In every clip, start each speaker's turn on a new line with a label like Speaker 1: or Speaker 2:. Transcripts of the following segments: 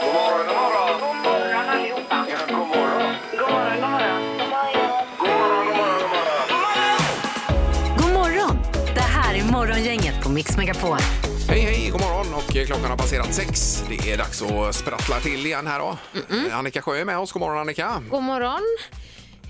Speaker 1: God morgon, god morgon.
Speaker 2: God morgon allihopa.
Speaker 1: Ja, god morgon.
Speaker 2: God morgon, god morgon.
Speaker 1: God morgon, god morgon, god morgon.
Speaker 3: God morgon! Det här är Morgongänget på Mix Megapol.
Speaker 4: Hej, hej, god morgon och eh, klockan har passerat sex. Det är dags att sprattla till igen här då. Eh, Annika Sjö är med oss. God morgon Annika.
Speaker 5: God morgon.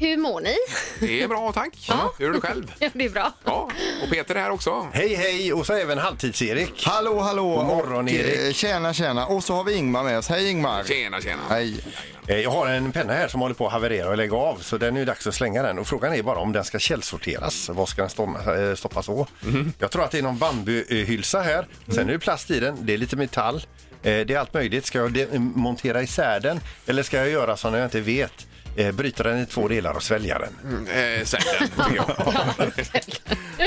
Speaker 5: Hur mår ni?
Speaker 4: Det är bra, tack. Hur är du själv?
Speaker 5: Ja, det är bra.
Speaker 4: Ja, och Peter är här också.
Speaker 6: Hej hej och så även halvtids-Erik.
Speaker 7: Hallå, hallå!
Speaker 6: God morgon,
Speaker 7: och,
Speaker 6: Erik.
Speaker 7: eh, Tjena, tjena! Och så har vi Ingmar med oss. Hej Ingmar!
Speaker 4: Tjena, tjena.
Speaker 7: Hej!
Speaker 6: Eh, Jag har en penna här som håller på att haverera och lägga av så den är ju dags att slänga den och frågan är bara om den ska källsorteras. Vad ska den stoppa- eh, stoppas då? Jag tror att det är någon bambuhylsa här. Sen är det plast i den, det är lite metall. Eh, Det är allt möjligt. Ska jag de- montera isär den eller ska jag göra som jag inte vet? Eh, Bryta den i två delar och svälja den.
Speaker 4: Eh, Säg den, tycker jag.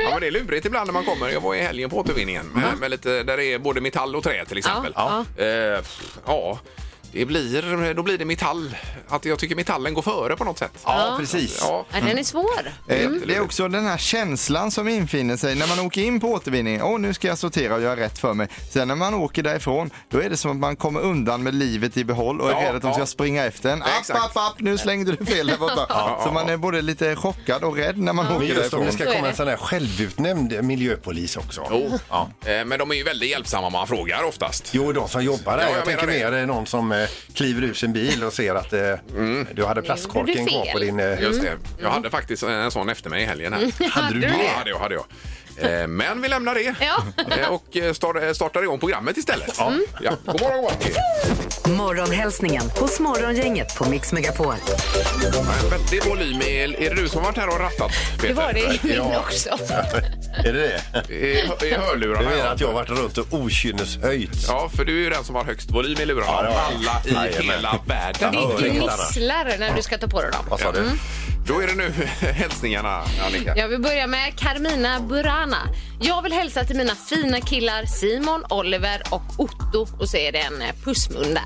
Speaker 4: ja, men det är lurigt ibland när man kommer. Jag var i helgen på återvinningen med, med lite, där det är både metall och trä till exempel.
Speaker 6: Mm. Ja,
Speaker 4: Eh, pff, ja. Det blir, då blir det metall. Att jag tycker metallen går före på något sätt.
Speaker 6: Ja, precis.
Speaker 4: Ja.
Speaker 5: Ja, den är svår. Mm.
Speaker 7: Eh, Det är också den här känslan som infinner sig när man åker in på återvinningen. Åh, nu ska jag sortera och göra rätt för mig. Sen när man åker därifrån, då är det som att man kommer undan med livet i behåll och är
Speaker 4: Ja,
Speaker 7: rädd att de
Speaker 4: ja.
Speaker 7: ska springa efter en. App,
Speaker 4: exakt.
Speaker 7: app, app, nu slängde du fel där borta. Så man är både lite chockad och rädd när man
Speaker 6: Men
Speaker 7: åker
Speaker 6: just om det
Speaker 7: därifrån.
Speaker 6: ska
Speaker 5: Så är
Speaker 6: komma en
Speaker 5: det.
Speaker 6: sån här självutnämnd miljöpolis också.
Speaker 4: Jo.
Speaker 6: Ja.
Speaker 4: Eh, Men de är ju väldigt hjälpsamma om man frågar oftast.
Speaker 6: Jo, de som jobbar där.
Speaker 4: Ja, jag
Speaker 6: jag tänker
Speaker 4: menar det.
Speaker 6: mer eh, någon som eh, kliver ur sin bil och ser att eh,
Speaker 4: Mm.
Speaker 6: du hade plastkorken
Speaker 5: gjorde du
Speaker 6: kvar på
Speaker 5: fel.
Speaker 6: din... Eh,
Speaker 4: Just det. Jag hade faktiskt en sån efter mig i helgen. Här.
Speaker 6: Hade du
Speaker 4: Ja,
Speaker 6: det?
Speaker 4: hade jag. Hade jag. Eh, Men vi lämnar det
Speaker 5: Ja.
Speaker 4: Eh, och eh, star- startar igång programmet istället. Ja. Ja. God morgon, god morgon.
Speaker 3: Morgonhälsningen hos Morgongänget på Mix Megapol.
Speaker 4: En väldig volym. Är, är det du som har varit här och rattat, Peter?
Speaker 5: Det var det i min också.
Speaker 6: är det det?
Speaker 4: I, i
Speaker 6: Du
Speaker 4: hörlurarna?
Speaker 6: menar
Speaker 4: ja.
Speaker 6: att jag har varit runt och okynneshöjt?
Speaker 4: Ja, för du är ju den som har högst volym i lurarna.
Speaker 6: Ja, det
Speaker 4: av
Speaker 6: har jag.
Speaker 4: Alla i
Speaker 6: Jajamän.
Speaker 4: hela världen.
Speaker 6: Ja,
Speaker 5: Det gnisslar när du ska ta på dig dem. Mm.
Speaker 6: Vad sa du?
Speaker 4: Då är det nu hälsningarna, Annika.
Speaker 5: Jag vill börja med Carmina Burana. Jag vill hälsa till mina fina killar Simon, Oliver och Otto. Och så är det en eh, pussmun där.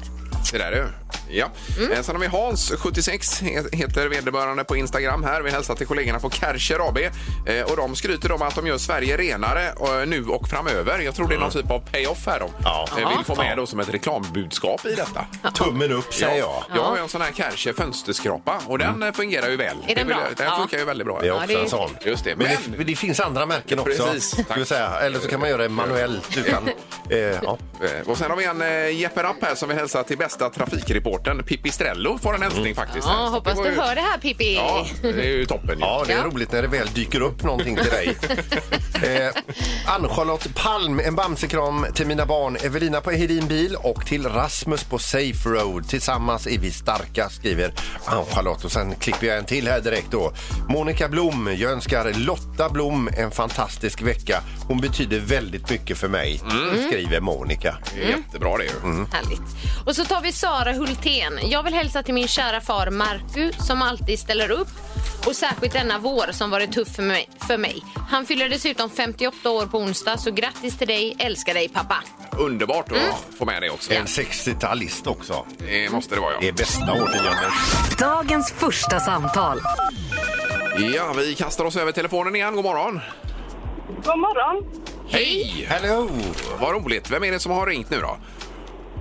Speaker 4: Det där du. Ja. Mm. Sen har vi Hans, 76, he- heter vederbörande på Instagram här. Vi hälsar till kollegorna på Kärcher AB. Eh, och de skryter om att de gör Sverige renare eh, nu och framöver. Jag tror det är någon typ av payoff här de
Speaker 6: Ja.
Speaker 4: eh, vill få med då som ett reklambudskap i detta.
Speaker 6: Tummen upp, säger jag.
Speaker 4: Jag har ju en sån här Kärcher fönsterskrapa och
Speaker 6: Mm.
Speaker 4: den eh, fungerar ju väl.
Speaker 5: den
Speaker 4: Det vill jag-
Speaker 5: bra?
Speaker 4: Den
Speaker 5: Ja.
Speaker 4: funkar ju väldigt bra.
Speaker 6: Det är
Speaker 5: Ja,
Speaker 6: också
Speaker 5: det-
Speaker 6: en sån.
Speaker 4: Just det,
Speaker 6: Men,
Speaker 4: men-
Speaker 6: det, det finns andra märken också.
Speaker 4: Precis,
Speaker 6: skulle
Speaker 4: tack.
Speaker 6: jag säga. Eller så kan man göra det manuellt utan... eh, ja.
Speaker 4: Eh, Och sen har vi en eh, Jeppe Rapp här som vi hälsar till bästa trafikreportern Pipistrello får en hälsning
Speaker 6: Mm.
Speaker 4: faktiskt. här.
Speaker 5: Ja,
Speaker 4: Så
Speaker 5: hoppas
Speaker 4: det var
Speaker 5: du
Speaker 4: ju-
Speaker 5: hör det här Pippi.
Speaker 4: Ja, det är ju toppen. ju.
Speaker 6: Ja, det är
Speaker 5: Ja.
Speaker 6: roligt när det väl dyker upp någonting till dig. eh, Ann-Charlotte Palm, en bamsekram till mina barn Evelina på Hedin Bil och till Rasmus på Safe Road. Tillsammans är vi starka, skriver Ann-Charlotte. Och sen klipper jag en till här direkt då. Monica Blom, jag önskar Lotta Blom en fantastisk vecka. Hon betyder väldigt mycket för mig, skriver Monica.
Speaker 4: Mm.
Speaker 6: Mm.
Speaker 4: Det är Jättebra det ju.
Speaker 5: Härligt. Och så tar vi Sara Hultén. Jag vill hälsa till min kära far Marku som alltid ställer upp. Och särskilt denna vår som varit tuff för mig. För mig. Han fyller dessutom 58 år på onsdag, så grattis till dig. Älskar dig pappa.
Speaker 4: Underbart att få med det också.
Speaker 6: Mm. En 60-talist också.
Speaker 4: Det måste det vara,
Speaker 6: Det
Speaker 4: ja.
Speaker 6: är bästa årtiondet.
Speaker 3: Dagens första samtal.
Speaker 4: Ja, vi kastar oss över telefonen igen. God morgon!
Speaker 2: God morgon.
Speaker 4: Hej! Mm.
Speaker 6: Hello!
Speaker 4: Vad roligt. Vem är det som har ringt nu då?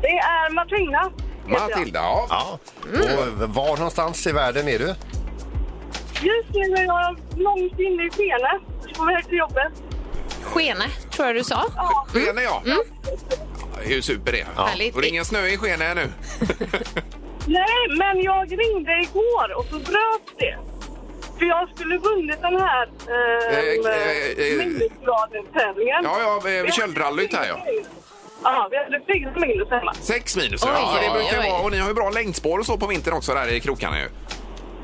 Speaker 2: Det är Matilda. heter jag.
Speaker 4: Matilda, ja.
Speaker 6: Ja. Och var någonstans i världen är du?
Speaker 2: Just nu är jag långt inne i Skene. På väg till jobbet.
Speaker 5: Skene, tror jag du sa.
Speaker 4: Skene, ja. Mm. Ja, Det är ju super det.
Speaker 5: Härligt.
Speaker 4: Och det är ingen snö i Skene ännu.
Speaker 2: Nej, men jag ringde igår och så bröts det. För jag skulle vunnit den här
Speaker 4: Eh, eh, eh,
Speaker 2: eh, minnesbladen-tävlingen.
Speaker 4: Ja, ja, eh, köldrallyt här, ja.
Speaker 2: Ja, vi hade fyra minus hemma.
Speaker 4: Sex minus,
Speaker 5: Oj,
Speaker 4: ja. För det
Speaker 5: oj,
Speaker 4: brukar
Speaker 5: oj.
Speaker 4: vara. Och ni har ju bra längdspår och så på vintern också där i krokarna ju.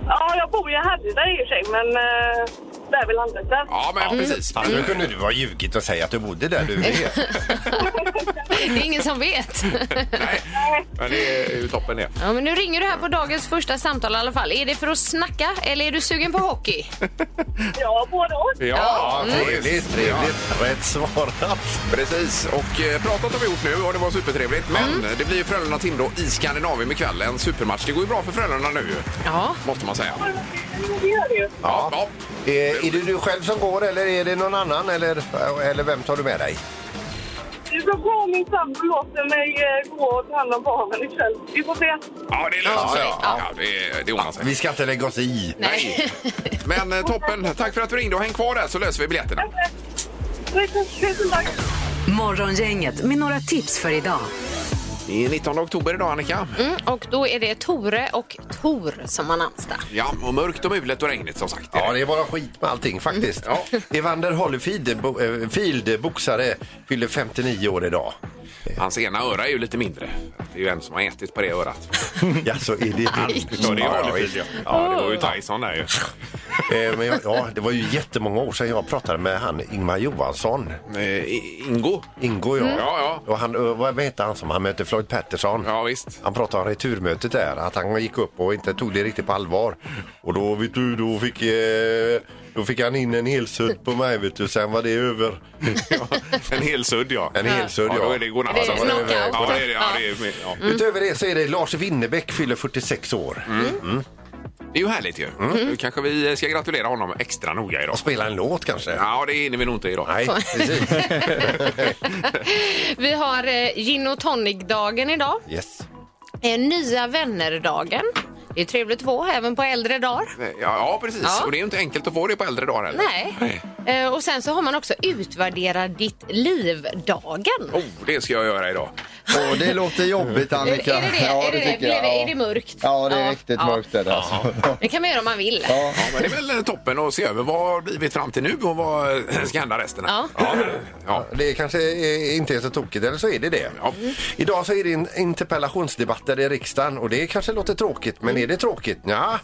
Speaker 2: Ja, jag bor ju i Härryda i och för sig, men eh, där vill han inte. Mm.
Speaker 4: Ja, men precis.
Speaker 6: Alltså, nu kunde du ha ljugit och säga att du bodde där du är.
Speaker 5: Det är ingen som vet.
Speaker 4: Nej, men det är ju toppen det.
Speaker 5: Ja, men nu ringer du här på dagens första samtal i alla fall. Är det för att snacka eller är du sugen på hockey?
Speaker 2: Ja, både och.
Speaker 4: Ja, Mm.
Speaker 6: Trevligt, trevligt. Rätt svarat.
Speaker 4: Precis, och eh, pratat har vi gjort nu och det var supertrevligt. Men det blir ju Frölunda-Timrå i Skandinavien ikväll. En supermatch. Det går ju bra för Frölunda nu,
Speaker 5: Ja.
Speaker 4: måste man säga.
Speaker 2: Det gör det ju.
Speaker 4: Ja, ja.
Speaker 6: Eh, Är, är det du själv som går eller är det någon annan eller, eller vem tar du med dig?
Speaker 2: Nu så går min sambo låter mig eh, gå och ta hand om barnen ikväll. Vi får se.
Speaker 4: Ja, det löser sig.
Speaker 6: Ja.
Speaker 4: Ja, det, det ordnar sig.
Speaker 6: Vi ska inte lägga oss i.
Speaker 4: Nej. Men eh, toppen. Tack för att du ringde och häng kvar där så löser vi biljetterna.
Speaker 2: Tusen tack!
Speaker 3: Morgongänget med några tips för idag.
Speaker 4: Det är 19 oktober idag, Annika.
Speaker 5: Mm, och då är det Tore och Tor som har namnsdag.
Speaker 4: Ja, och mörkt och mulet och regnigt som sagt.
Speaker 6: Ja, det är bara skit med allting faktiskt. Mm, Ja. Evander Holyfield, bo, eh, Field, boxare, fyller 59 år idag.
Speaker 4: Hans ena öra är ju lite mindre. Det är ju en som har ätit på det örat.
Speaker 6: Ja, så är det
Speaker 4: Ja, det är Holyfield, ja.
Speaker 6: visst.
Speaker 4: ja. Det var ju Tyson där ju.
Speaker 6: Eh, Men jag, ja, det var ju jättemånga år sedan jag pratade med han Ingmar Johansson.
Speaker 4: Eh, I- Ingo. Mm.
Speaker 6: Ingo jag.
Speaker 4: Ja, ja.
Speaker 6: Och han, eh, vad hette han som han mötte? Floyd Patterson.
Speaker 4: Ja, visst.
Speaker 6: Han pratade om returmötet där, att han gick upp och inte tog det riktigt på allvar. Och då, vet du, då fick, eh, då fick han in en helsudd på mig, vet du. Sen var det över.
Speaker 4: En hel sudd, ja.
Speaker 6: En helsudd,
Speaker 4: ja.
Speaker 6: ja.
Speaker 4: Då är det godnatt.
Speaker 5: Det är
Speaker 4: Alltså,
Speaker 5: knockout. Mm.
Speaker 4: Ja, det är det. Ja, det, är, ja.
Speaker 6: Utöver det så är det Lars Winnerbäck fyller 46 år
Speaker 4: Mm.
Speaker 6: Mm.
Speaker 4: det är ju härligt ju. Nu kanske vi ska gratulera honom extra noga idag.
Speaker 6: och spelar en låt kanske.
Speaker 4: Ja, det hinner vi nog inte idag.
Speaker 6: Nej, precis.
Speaker 5: Vi har eh, gin och tonic-dagen idag.
Speaker 6: Yes.
Speaker 5: Eh, nya vänner-dagen. Det är trevligt att få även på äldre dagar.
Speaker 4: Ja, ja precis.
Speaker 5: Ja.
Speaker 4: Och det är ju inte enkelt att få det på äldre dagar heller.
Speaker 5: Nej. Eh, Och sen så har man också utvärdera ditt liv-dagen.
Speaker 4: Oh, det ska jag göra idag.
Speaker 7: Åh, det låter jobbigt
Speaker 5: Är det
Speaker 7: Annika.
Speaker 5: är det? det?
Speaker 7: Ja,
Speaker 5: är, det det?
Speaker 7: tycker
Speaker 5: Blir
Speaker 7: jag.
Speaker 5: det?
Speaker 7: Ja.
Speaker 5: är det mörkt?
Speaker 7: Ja, det är riktigt mörkt är det alltså.
Speaker 5: Det kan man göra om man vill.
Speaker 7: Ja.
Speaker 4: Ja, men det är väl eh, toppen att se över vad har blivit fram till nu och vad eh, ska hända resten.
Speaker 5: Ja.
Speaker 4: Ja. Ja.
Speaker 6: Det kanske är- inte är så tokigt, eller så är det det.
Speaker 4: Ja.
Speaker 6: Idag så är det en interpellationsdebatter i riksdagen och det kanske låter tråkigt, men är det tråkigt? Ja.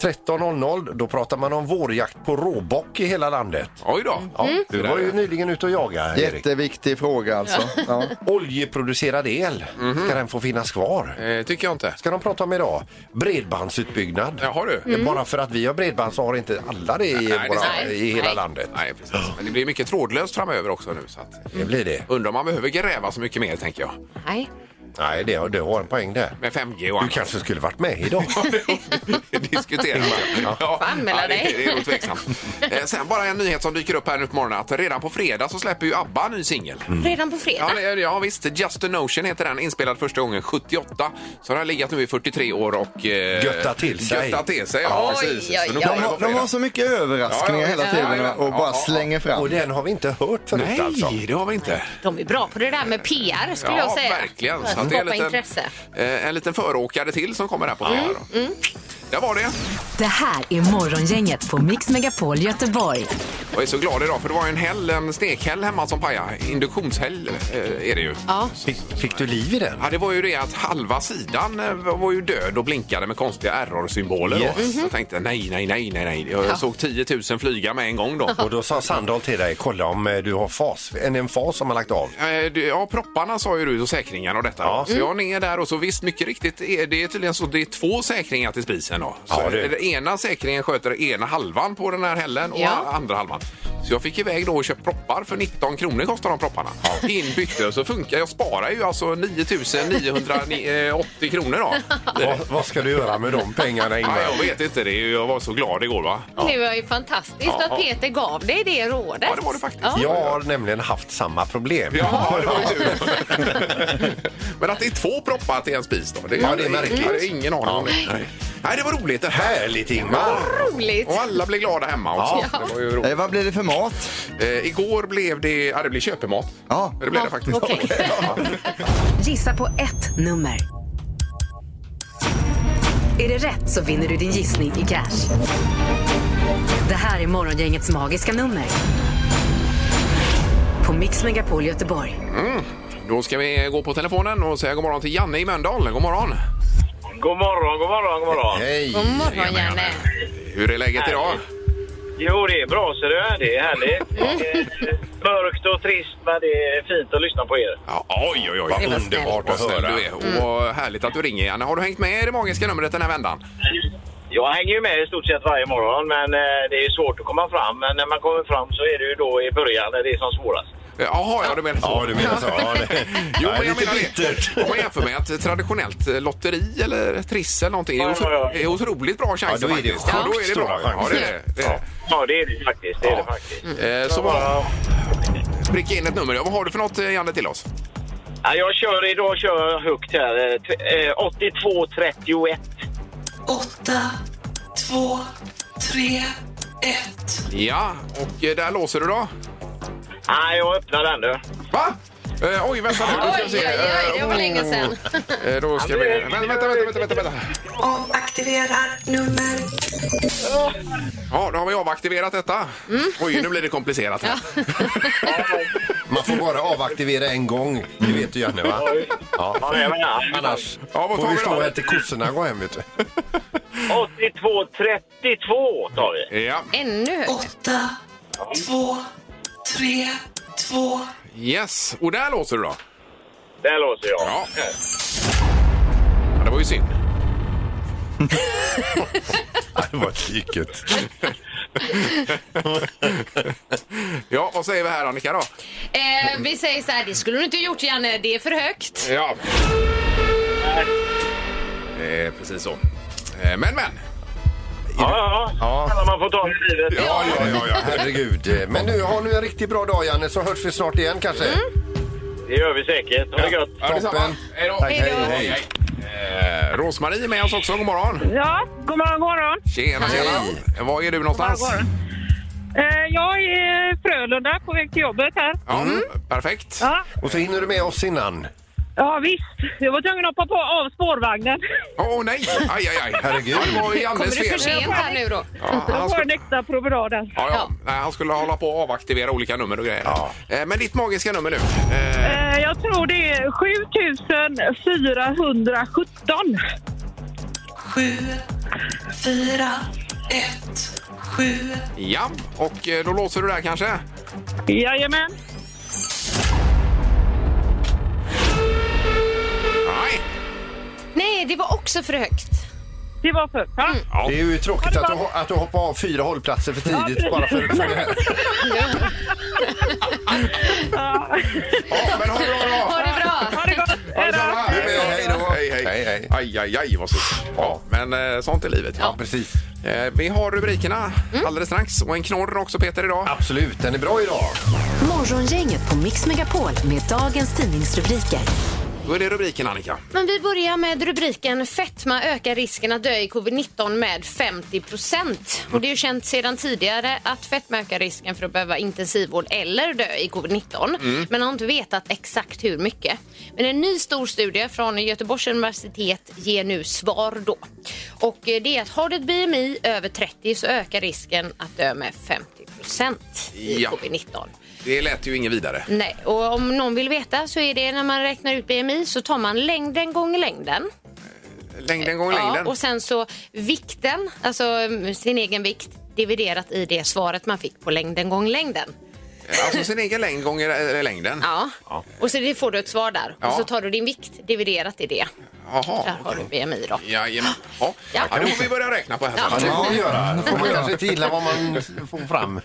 Speaker 6: 13.00, då pratar man om vårjakt på råbock i hela landet.
Speaker 4: Oj då.
Speaker 6: Mm. Ja, du var ju
Speaker 4: Hur är det?
Speaker 6: nyligen ute och jagade, Erik.
Speaker 7: Jätteviktig fråga alltså. Ja.
Speaker 6: Oljeproducerad el, ska den få finnas kvar?
Speaker 4: Mhm. Eh, tycker jag inte.
Speaker 6: Ska de prata om idag? Bredbandsutbyggnad. Mm.
Speaker 4: Jaha du. Mm.
Speaker 6: Bara för att vi har bredband så har inte alla det i,
Speaker 4: Nej, det
Speaker 6: våra,
Speaker 4: stämmer.
Speaker 6: i hela
Speaker 5: Nej.
Speaker 6: landet.
Speaker 4: Nej, precis. Men det blir mycket trådlöst framöver också nu. Så att,
Speaker 6: Det blir det.
Speaker 4: undrar om man behöver gräva så mycket mer, tänker jag.
Speaker 5: Nej.
Speaker 6: Nej, det, har- det har en poäng där.
Speaker 4: Med 5G och
Speaker 6: Du
Speaker 4: annat.
Speaker 6: kanske skulle varit med idag.
Speaker 4: diskutera. Ja. Ja.
Speaker 5: Får anmäla
Speaker 4: det,
Speaker 5: dig.
Speaker 4: det är nog tveksamt. Eh, Sen bara en nyhet som dyker upp här nu på morgonen. Att redan på fredag så släpper ju ABBA en ny singel.
Speaker 6: Mm.
Speaker 5: Redan på fredag.
Speaker 4: Ja, det är- ja visst, Just a Notion heter den, inspelad första gången 78. Så den har legat nu i 43 år och... Eh,
Speaker 6: Götta till sig.
Speaker 4: Götta till sig, ja
Speaker 5: Oj,
Speaker 4: precis.
Speaker 5: oj,
Speaker 4: Så nu
Speaker 5: oj.
Speaker 4: kommer
Speaker 7: De,
Speaker 4: det på
Speaker 7: har, de har
Speaker 4: fredag.
Speaker 7: så mycket överraskningar
Speaker 4: Ja, ja,
Speaker 7: hela
Speaker 4: ja,
Speaker 7: tiden
Speaker 4: ja, ja.
Speaker 7: och bara
Speaker 4: Ja, ja,
Speaker 7: slänger
Speaker 6: Och
Speaker 7: fram.
Speaker 6: den har vi inte hört förut
Speaker 4: Nej,
Speaker 6: alltså.
Speaker 4: det har vi inte.
Speaker 5: De är bra på det där med PR skulle
Speaker 4: Ja,
Speaker 5: jag säga.
Speaker 4: verkligen.
Speaker 5: För
Speaker 4: Så
Speaker 5: att
Speaker 4: att det är
Speaker 5: skapa
Speaker 4: en liten,
Speaker 5: intresse. Mm.
Speaker 4: eh, en liten föråkare till som kommer här på fredag. då. Där var det.
Speaker 3: Det här är Morgongänget på Mix Megapol Göteborg.
Speaker 4: Jag är så glad idag för det var ju en häll, en stekhäll hemma som pajade. Induktionshäll eh, är det ju.
Speaker 5: Ja.
Speaker 6: Fick, fick du liv i den?
Speaker 4: Ja, det var ju det att halva sidan eh, var ju död och blinkade med konstiga error-symboler.
Speaker 6: Yes.
Speaker 4: då. Jag tänkte nej, nej, nej, nej, nej. Jag såg 10 000 flyga med en gång då.
Speaker 6: Och då sa Sandahl till dig, kolla om eh, du har fas, en, en fas som har lagt av.
Speaker 4: Eh, du- Ja, propparna sa ju du och säkringen och detta.
Speaker 6: Ja.
Speaker 4: Så jag ner där och så visst, mycket riktigt, är det är tydligen så det är två säkringar till spisen då. Så
Speaker 6: Ja, det-
Speaker 4: Den ena säkringen sköter ena halvan på den här hällen och
Speaker 5: Ja.
Speaker 4: andra halvan. Så jag fick iväg då och köpte proppar för 19 kronor kostar de propparna. In bytte och så funkar Jag sparar ju alltså 9 980 kronor då.
Speaker 6: Mm. Vad, vad ska du göra med de pengarna
Speaker 4: Ja,
Speaker 6: Ingmar?
Speaker 4: jag vet inte, det är ju, jag var så glad igår va?
Speaker 5: Det var ju fantastiskt
Speaker 4: Ja, ja.
Speaker 5: att Peter gav dig det rådet.
Speaker 4: Ja, det var det faktiskt.
Speaker 5: Ja.
Speaker 6: Jag har nämligen haft samma problem.
Speaker 4: Ja, det var ju tur. Men att det är två proppar till en spis då? Det,
Speaker 6: Ja, det är märkligt.
Speaker 4: Jag hade ingen aning om det. Nej. Nej, det var roligt det här.
Speaker 6: Härligt Ingmar!
Speaker 5: Roligt.
Speaker 4: Och alla blev glada hemma också. Det var ju roligt.
Speaker 7: Eh, vad blir det för mat?
Speaker 4: Eh, igår blev det, ja det blev köpemat.
Speaker 7: Ja.
Speaker 4: Det blev det faktiskt.
Speaker 5: Okej.
Speaker 3: Gissa på ett nummer. Är det rätt så vinner du din gissning i cash. Det här är Morgongängets magiska nummer. På Mix Megapol Göteborg.
Speaker 4: Mm. Då ska vi gå på telefonen och säga god morgon till Janne i Mölndal. God morgon!
Speaker 8: God morgon, god morgon, god morgon.
Speaker 6: Hej!
Speaker 5: God morgon, Janne.
Speaker 4: Hur är läget idag?
Speaker 8: Jo, det är bra ser du. Det är härligt.
Speaker 5: Mm.
Speaker 8: Det är Mörkt och trist, men det är fint att lyssna på er.
Speaker 4: Ja, oj, oj, oj.
Speaker 5: var snällt.
Speaker 6: Underbart
Speaker 4: Vad
Speaker 6: att
Speaker 4: snäll
Speaker 6: höra. Mm.
Speaker 4: du är. Och vad härligt att du ringer, Janne. Har du hängt med i det magiska numret den här vändan?
Speaker 8: Jag hänger ju med i stort sett varje morgon, men eh, det är ju svårt att komma fram. Men när man kommer fram så är det ju då i början när det är som svårast.
Speaker 4: Jaha, ja, du menar så.
Speaker 6: Ja, du menar så. Ja, det, Ja,
Speaker 4: Jo, men jag
Speaker 6: lite
Speaker 4: menar
Speaker 6: bittert.
Speaker 4: det. Om man jämför med ett traditionellt lotteri eller triss eller någonting, är
Speaker 8: Ja, ja, ja.
Speaker 4: otro- är otroligt bra
Speaker 6: Ja,
Speaker 4: chanser
Speaker 6: då är det
Speaker 4: faktiskt. Ja, då är det
Speaker 6: sjukt
Speaker 4: bra.
Speaker 6: stora
Speaker 4: Ja, det är det. det. är det.
Speaker 8: Ja, det är det faktiskt. Det är det faktiskt.
Speaker 4: Eh, Så vad, pricka in ett nummer. Ja, vad har du för något, eh, Janne, till oss?
Speaker 8: Ja, jag kör idag kör jag högt här. eh, t- eh, 8231.
Speaker 4: Ja, och eh, där låser du då?
Speaker 8: Nej, jag öppnar den du.
Speaker 4: Va? Eh, oj, vänta nu. Då ska
Speaker 5: Oj,
Speaker 4: vi
Speaker 5: oj,
Speaker 4: se.
Speaker 5: oj, det var
Speaker 4: Eh,
Speaker 5: länge sedan.
Speaker 4: eh, då ska vi... Vänta, vänta, vänta, vänta, vänta.
Speaker 9: Avaktiverar nummer.
Speaker 4: Ja, då har vi avaktiverat detta.
Speaker 5: Mm.
Speaker 4: Oj, nu blir det komplicerat här.
Speaker 6: Man får bara avaktivera en gång. Det vet du Janne va?
Speaker 8: Ja, det menar
Speaker 6: Annars
Speaker 4: Ja, vad tar
Speaker 6: får vi
Speaker 4: vi då?
Speaker 6: stå här till kossorna går hem vet du.
Speaker 8: 8232 tar vi.
Speaker 4: Ja,
Speaker 5: Ännu högre.
Speaker 9: åtta två tre två
Speaker 4: yes. Och där låser du då?
Speaker 8: Där låser jag.
Speaker 4: Ja. ja det var ju synd.
Speaker 6: Det var tyket.
Speaker 4: Ja, vad säger vi här Annika då?
Speaker 5: Eh, vi säger så här, det skulle du inte gjort Janne, det är för högt.
Speaker 4: Ja. Eh, precis så. Eh, men, men.
Speaker 8: Ja, ja. Alla man får ta i livet.
Speaker 4: Ja, ja, ja. ja.
Speaker 6: Herregud. Men nu har du en riktigt bra dag Janne så hörs vi snart igen kanske.
Speaker 8: Det gör vi säkert. Ha det gött.
Speaker 4: ja detsamma.
Speaker 6: Toppen.
Speaker 4: Hej då.
Speaker 6: Tack, hej, hej.
Speaker 4: hej. Eh, Rosmarie är med oss också. God morgon.
Speaker 2: Ja, god morgon, god morgon.
Speaker 4: Tjena, tjena. Var är du någonstans?
Speaker 2: God morgon. Eh, jag är i Frölunda på väg till jobbet här.
Speaker 4: Ja, Perfekt.
Speaker 2: Ja,
Speaker 6: Och så hinner du med oss innan.
Speaker 2: ja visst. Jag var tvungen att hoppa på av spårvagnen.
Speaker 4: Åh nej! Aj, aj, aj.
Speaker 6: Herregud.
Speaker 4: Ja, det var
Speaker 5: Kommer
Speaker 4: ju Jannes
Speaker 5: du för
Speaker 4: fel.
Speaker 5: sent här nu då?
Speaker 4: Ja, han
Speaker 2: Jag får en
Speaker 4: skulle,
Speaker 2: extra promenad där.
Speaker 4: ja, ja. Nej, han skulle hålla på och avaktivera olika nummer och grejer.
Speaker 6: Ja.
Speaker 4: Eh, Men ditt magiska nummer nu. Eh,
Speaker 2: Eh, jag tror det är 7417.
Speaker 9: sju fyra ett sju
Speaker 4: Ja, och eh, då låser du där kanske?
Speaker 2: Jajamän.
Speaker 4: Nej!
Speaker 5: Nej, det var också för högt. Mm.
Speaker 2: Det var för. Ja.
Speaker 6: Det är ju tråkigt att du, ho- att du hoppar av fyra hållplatser för tidigt bara för, för det här.
Speaker 4: Ja, men ha det bra då!
Speaker 5: Ha det bra!
Speaker 2: Ha det gott. Hej då.
Speaker 4: Detsamma.
Speaker 6: Hej då.
Speaker 4: Hej, hej.
Speaker 6: Hej, hej.
Speaker 4: Aj, aj, aj vad surt. Ja, men eh, sånt är livet.
Speaker 6: Ja, precis. Mm.
Speaker 4: Eh, Vi har rubrikerna alldeles strax och en knorr också Peter idag.
Speaker 6: Absolut, den är bra idag.
Speaker 3: Morgongänget på Mix Megapol med dagens tidningsrubriker.
Speaker 4: Då är det rubriken Annika.
Speaker 5: Men vi börjar med rubriken Fetma ökar risken att dö i covid-19 med 50 procent. Och det är ju känt sedan tidigare att fetma ökar risken för att behöva intensivvård eller dö i covid-19. Men har inte vetat exakt hur mycket. Men en ny stor studie från Göteborgs universitet ger nu svar då. Och eh, det är att har du ett BMI över 30 så ökar risken att dö med 50 procent i
Speaker 4: Ja.
Speaker 5: covid-19.
Speaker 4: Det lät ju inget vidare.
Speaker 5: Nej, och om någon vill veta så är det när man räknar ut BMI så tar man längden gånger längden.
Speaker 4: Längden gånger
Speaker 5: Ja,
Speaker 4: längden.
Speaker 5: och sen så vikten, alltså mm, sin egen vikt dividerat i det svaret man fick på längden gånger längden.
Speaker 4: Alltså sin egen längd gånger eh, längden.
Speaker 5: Ja. Och så det får du ett svar där.
Speaker 4: Ja.
Speaker 5: Och så tar du din vikt dividerat i det. Där
Speaker 4: Jaha,
Speaker 5: har du BMI då.
Speaker 4: Jajamän. Ja. Ja.
Speaker 5: Ja.
Speaker 4: då får vi börja räkna på här.
Speaker 5: Ja.
Speaker 6: Ja, det får vi göra. Då får man kanske inte gilla vad man får fram.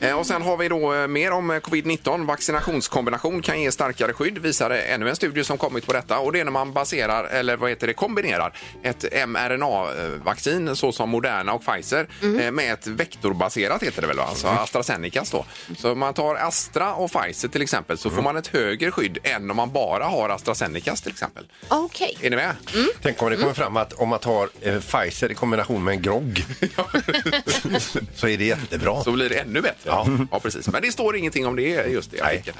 Speaker 4: Ja. Eh, Och sen har vi då eh, mer om eh, covid-19. Vaccinationskombination kan ge starkare skydd, visar det ännu en studie som kommit på detta. Och det är när man baserar, eller vad heter det, kombinerar ett mRNA-vaccin såsom Moderna och Pfizer
Speaker 5: Mm.
Speaker 4: eh, med ett vektorbaserat heter det väl, va? alltså
Speaker 6: Mm.
Speaker 4: AstraZenecas då. Så om man tar Astra och Pfizer till exempel
Speaker 6: Mm.
Speaker 4: så får man ett högre skydd än om man bara har AstraZenecas till exempel.
Speaker 5: Okej.
Speaker 4: Är ni med?
Speaker 5: Mm.
Speaker 6: Tänk om det kommer fram att om man tar eh, Pfizer i kombination med en grogg så är det jättebra.
Speaker 4: Så blir det ännu bättre. Mm. Ja. precis. Men det står ingenting om det just i artikeln.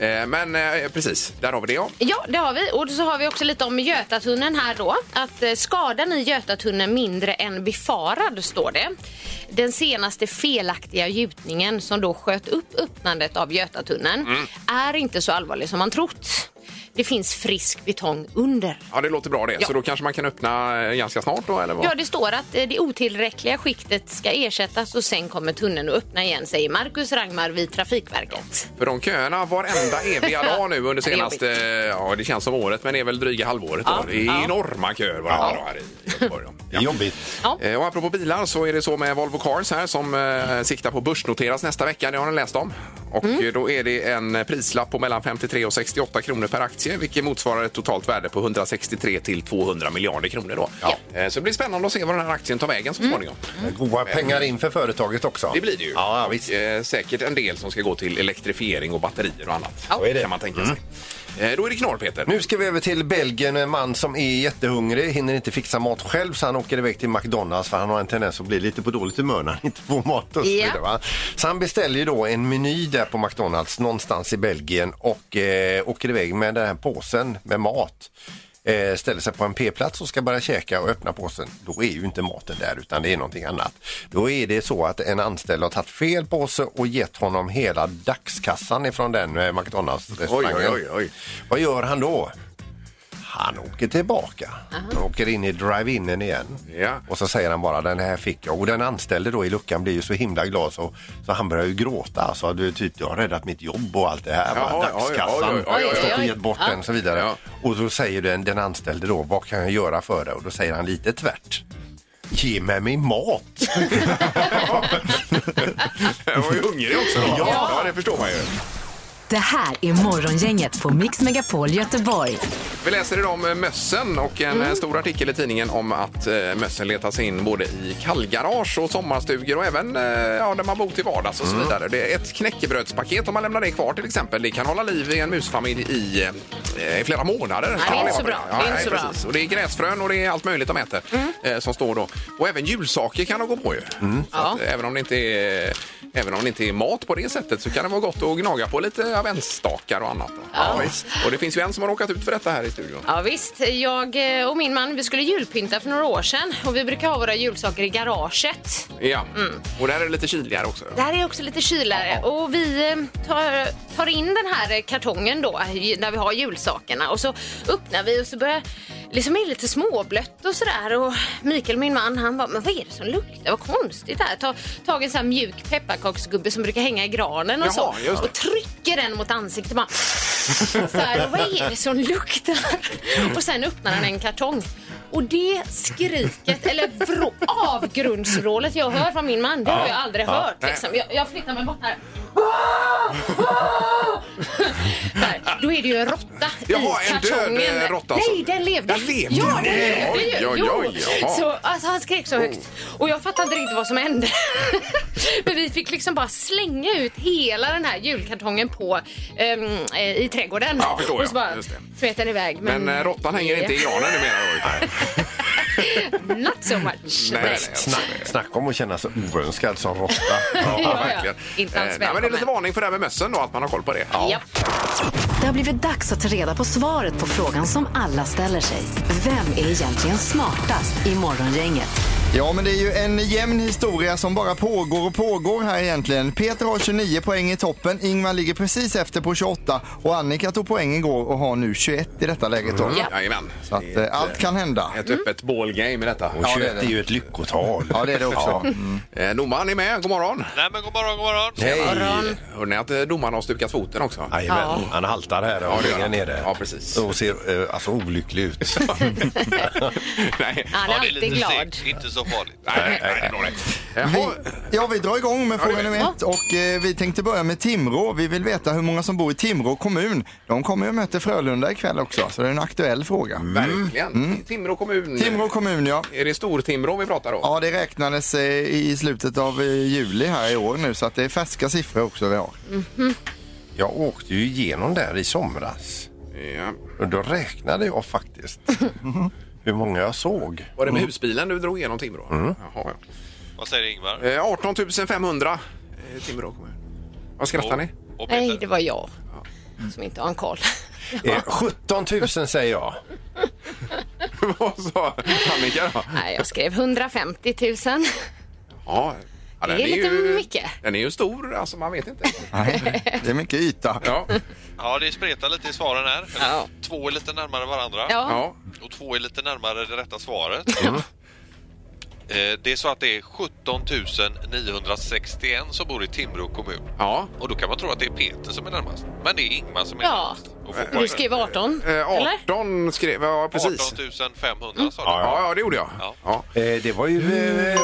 Speaker 4: här. Eh, Men eh, precis, där har vi det ja.
Speaker 5: Ja, det har vi. Och så har vi också lite om Götatunneln här då. Att eh, skadan i Götatunneln mindre än befarad, står det. Den senaste felaktiga gjutningen som då sköt upp öppnandet av Götatunneln är inte så allvarlig som man trott. Det finns frisk betong under.
Speaker 4: Ja, det låter bra det.
Speaker 5: Ja.
Speaker 4: Så då kanske man kan öppna eh, ganska snart då, eller vad?
Speaker 5: Ja, det står att eh, det otillräckliga skiktet ska ersättas och sen kommer tunneln att öppna igen, säger Marcus Rangmar vid Trafikverket.
Speaker 4: För de köerna varenda eviga dag nu under
Speaker 5: Det är
Speaker 4: senaste, ja det känns som året, men det är väl dryga halvåret då. Det är enorma köer varje dag här i Göteborg.
Speaker 6: Det är jobbigt.
Speaker 5: Ja.
Speaker 4: Eh, Och apropå bilar så är det så med Volvo Cars här som eh, siktar på börsnoteras nästa vecka. Det har ni läst om. Och
Speaker 5: Mm.
Speaker 4: eh, då är det en prislapp på mellan 53 och 68 kronor per aktie vilket motsvarar ett totalt värde på 163 till 200 miljarder kronor. Då. Eh, Så det blir spännande att se vad den här aktien tar
Speaker 5: Mm.
Speaker 4: vägen så småningom.
Speaker 6: Goda pengar in för företaget också.
Speaker 4: Det blir det ju.
Speaker 6: Ja,
Speaker 4: Och,
Speaker 6: visst.
Speaker 4: eh, säkert en del som ska gå till elektrifiering och batterier och annat.
Speaker 6: Så är det. Mm.
Speaker 4: Kan man tänka sig. Eh, Då är det knorr, Peter.
Speaker 6: Nu ska vi över till Belgien, en man som är jättehungrig, hinner inte fixa mat själv så han åker iväg till McDonalds för han har en tendens att bli lite på dåligt humör när han inte får mat och så
Speaker 5: Ja.
Speaker 6: vidare. Va? Så han beställer ju då en meny där på McDonalds någonstans i Belgien och eh, åker iväg med den här påsen med mat. Eh, ställer sig på en p-plats och ska börja käka och öppna påsen. Då är ju inte maten där utan det är någonting annat. Då är det så att en anställd har tagit fel påse och gett honom hela dagskassan ifrån den eh, McDonalds-restaurangen.
Speaker 4: Oj, oj, oj, oj.
Speaker 6: Vad gör han då? Han åker tillbaka. Han åker in i drive-inen igen.
Speaker 4: Ja.
Speaker 6: Och så säger han bara den här fick jag. Och den anställde då i luckan blir ju så himla glad så, så han börjar ju gråta. Alltså du typ jag har räddat mitt jobb och allt det här.
Speaker 4: Jaha,
Speaker 6: va?
Speaker 4: oj, oj, oj,
Speaker 6: Dagskassan.
Speaker 4: oj, oj, oj,
Speaker 6: Jag har stått och
Speaker 5: oj.
Speaker 6: gett bort den och så vidare.
Speaker 4: Ja.
Speaker 6: Och då säger den, den anställde då vad kan jag göra för dig? Och då säger han lite tvärt. Ge mig min mat!
Speaker 4: Jag var ju hungrig också. Då. Ja. det förstår man ju.
Speaker 3: Det här är Morgongänget på Mix Megapol Göteborg.
Speaker 4: Vi läser idag om eh, mössen och en
Speaker 5: Mm.
Speaker 4: eh, stor artikel i tidningen om att eh, mössen letar sig in både i kallgarage och sommarstugor och även eh, ja, där man bor till vardags och
Speaker 5: Mm.
Speaker 4: så vidare. Det är ett knäckebrödspaket om man lämnar det kvar till exempel. Det kan hålla liv i en musfamilj i, eh, i flera månader.
Speaker 5: det är inte så bra. Det
Speaker 4: Ja,
Speaker 5: är inte
Speaker 4: nej,
Speaker 5: så bra. Mm.
Speaker 4: precis. Och det är gräsfrön och det är allt möjligt de äter eh, som står då. Och även julsaker kan de gå på ju. Så
Speaker 5: Ja.
Speaker 4: att, eh, även, om det inte är, även om det inte är mat på det sättet så kan det vara gott att gnaga på lite aventstakar och annat.
Speaker 5: Ja,
Speaker 4: Och det finns ju en som har råkat ut för detta här i studion.
Speaker 5: Ja visst, jag eh, och min man vi skulle julpynta för några år sedan och vi brukar ha våra julsaker i garaget.
Speaker 4: Ja, och där är det lite kyligare också.
Speaker 5: Det här är också lite kylare och vi eh, tar, tar in den här eh, kartongen då i- där vi har julsakerna och så öppnar vi och så börjar liksom är det lite småblött och sådär och Mikael min man han bara, men vad är det som luktar? Vad konstigt det här. Ta tag i en sån här mjuk pepparkaksgubbe som brukar hänga i granen och
Speaker 4: Jaha,
Speaker 5: så
Speaker 4: just det.
Speaker 5: och trycker den mot ansiktet bara så här, vad är det som luktar? Och sen öppnar han en kartong. Och det skriket, eller vrå, avgrundsvrålet jag hör från min man, det har jag aldrig hört. Liksom. Jag, jag flyttar mig bort här. så här. Då är det ju en råtta
Speaker 4: Jaha,
Speaker 5: i
Speaker 4: en död,
Speaker 5: kartongen.
Speaker 4: eh, råtta alltså.
Speaker 5: Nej, den levde.
Speaker 4: Den levde?
Speaker 5: Ja, den
Speaker 4: Nej.
Speaker 5: levde ju.
Speaker 4: Oj, oj, oj,
Speaker 5: Jo.
Speaker 4: jaha. Oh.
Speaker 5: Så Alltså han skrek så högt och jag fattade inte riktigt vad som hände. Men vi fick liksom bara slänga ut hela den här julkartongen på ehm, eh, i trädgården.
Speaker 4: Ja, förstår jag.
Speaker 5: och så bara
Speaker 4: Just det.
Speaker 5: smet den iväg.
Speaker 4: Men, eh, råttan hänger inte i granen numera. då.
Speaker 5: Not so much.
Speaker 4: Nej, nej, alltså.
Speaker 6: Snack, snack om att känna sig oönskad som råtta.
Speaker 5: Ja, ja.
Speaker 4: verkligen.
Speaker 5: Inte alls
Speaker 4: Eh, nej, men det är lite
Speaker 5: välkommen.
Speaker 4: varning för det här med mössen då, att man har koll på det.
Speaker 5: Ja.
Speaker 3: Det har blivit dags att ta reda på svaret på frågan som alla ställer sig. Vem är egentligen smartast i Morgongänget?
Speaker 7: Ja, men det är ju en jämn historia som bara pågår och pågår här egentligen. Peter har 29 poäng i toppen, Ingmar ligger precis efter på 28 och Annika tog poäng igår och har nu 21 i detta läget då.
Speaker 5: Ja.
Speaker 4: Mm, Jajamän.
Speaker 7: Så att eh, allt kan hända.
Speaker 4: Ett öppet ballgame i detta.
Speaker 6: Och 21 är ju ett lyckotal.
Speaker 7: Ja, det är det också. Mm.
Speaker 4: Eh, domaren är med, god morgon.
Speaker 10: Nej men god morgon, god morgon.
Speaker 6: Hej!
Speaker 4: Hörde ni att eh, domaren har stukat foten också?
Speaker 6: Jajamän, han haltar här och
Speaker 4: det gör
Speaker 6: ligger
Speaker 4: han.
Speaker 6: nere.
Speaker 4: Ja, precis.
Speaker 6: Och ser eh, alltså olycklig ut.
Speaker 4: nej.
Speaker 5: Han är
Speaker 10: Ja, det är
Speaker 5: alltid
Speaker 10: lite
Speaker 5: glad. Mm.
Speaker 10: segt, inte så farligt.
Speaker 4: Nej, nej, nej, nej, nej. Eh,
Speaker 7: Vi,
Speaker 4: ha-
Speaker 7: ja, vi drar igång med fråga
Speaker 4: det gör vi.
Speaker 7: nummer ett och eh, vi tänkte börja med Timrå. Vi vill veta hur många som bor i Timrå kommun. De kommer ju att möta Frölunda ikväll också, så det är en aktuell fråga. Mm.
Speaker 4: Verkligen. Timrå kommun.
Speaker 7: Timrå kommun, ja.
Speaker 4: Är det Stortimrå vi pratar om?
Speaker 7: Ja, det räknades eh, i slutet av eh, juli här i år nu, så att det är färska siffror också vi har.
Speaker 4: Mm-hmm.
Speaker 6: Jag åkte ju igenom där i somras
Speaker 4: Ja.
Speaker 6: och då räknade jag faktiskt hur många jag såg.
Speaker 4: Var det med
Speaker 7: Mm.
Speaker 4: husbilen du drog igenom Timrå? Jaha, ja.
Speaker 10: Vad säger Ingvar?
Speaker 4: Eh, 18 500 eh, Timrå kommun. Vad skrattar ni?
Speaker 10: Och, och
Speaker 5: Nej,
Speaker 10: Peter?
Speaker 5: det var jag som inte har en koll.
Speaker 6: Eh, 17 000 säger jag.
Speaker 4: Vad sa Annika då?
Speaker 5: Nej, jag skrev 150 000.
Speaker 4: Ja, ja, den
Speaker 5: Det är lite
Speaker 4: ju,
Speaker 5: mycket.
Speaker 4: Den är ju stor, alltså man vet inte.
Speaker 7: Nej, det är mycket yta.
Speaker 4: Ja,
Speaker 10: Ja, det spretar lite i svaren här.
Speaker 5: Ja.
Speaker 10: Två är lite närmare varandra
Speaker 5: Ja.
Speaker 4: ja.
Speaker 10: och två är lite närmare det rätta svaret. Eh, Det är så att det är 17 961 som bor i Timrå kommun.
Speaker 4: ja.
Speaker 10: Och då kan man tro att det är Peter som är närmast. Men det är Ingmar som är
Speaker 5: Ja.
Speaker 10: närmast. och få
Speaker 5: Du
Speaker 10: poäng.
Speaker 5: skrev 18,
Speaker 4: Eh,
Speaker 5: eller?
Speaker 4: 18 skrev Ja, precis.
Speaker 10: 18 500 sa du.
Speaker 4: Ja, ja, det gjorde jag.
Speaker 10: Ja.
Speaker 4: Ja.
Speaker 6: Eh, det var ju eh,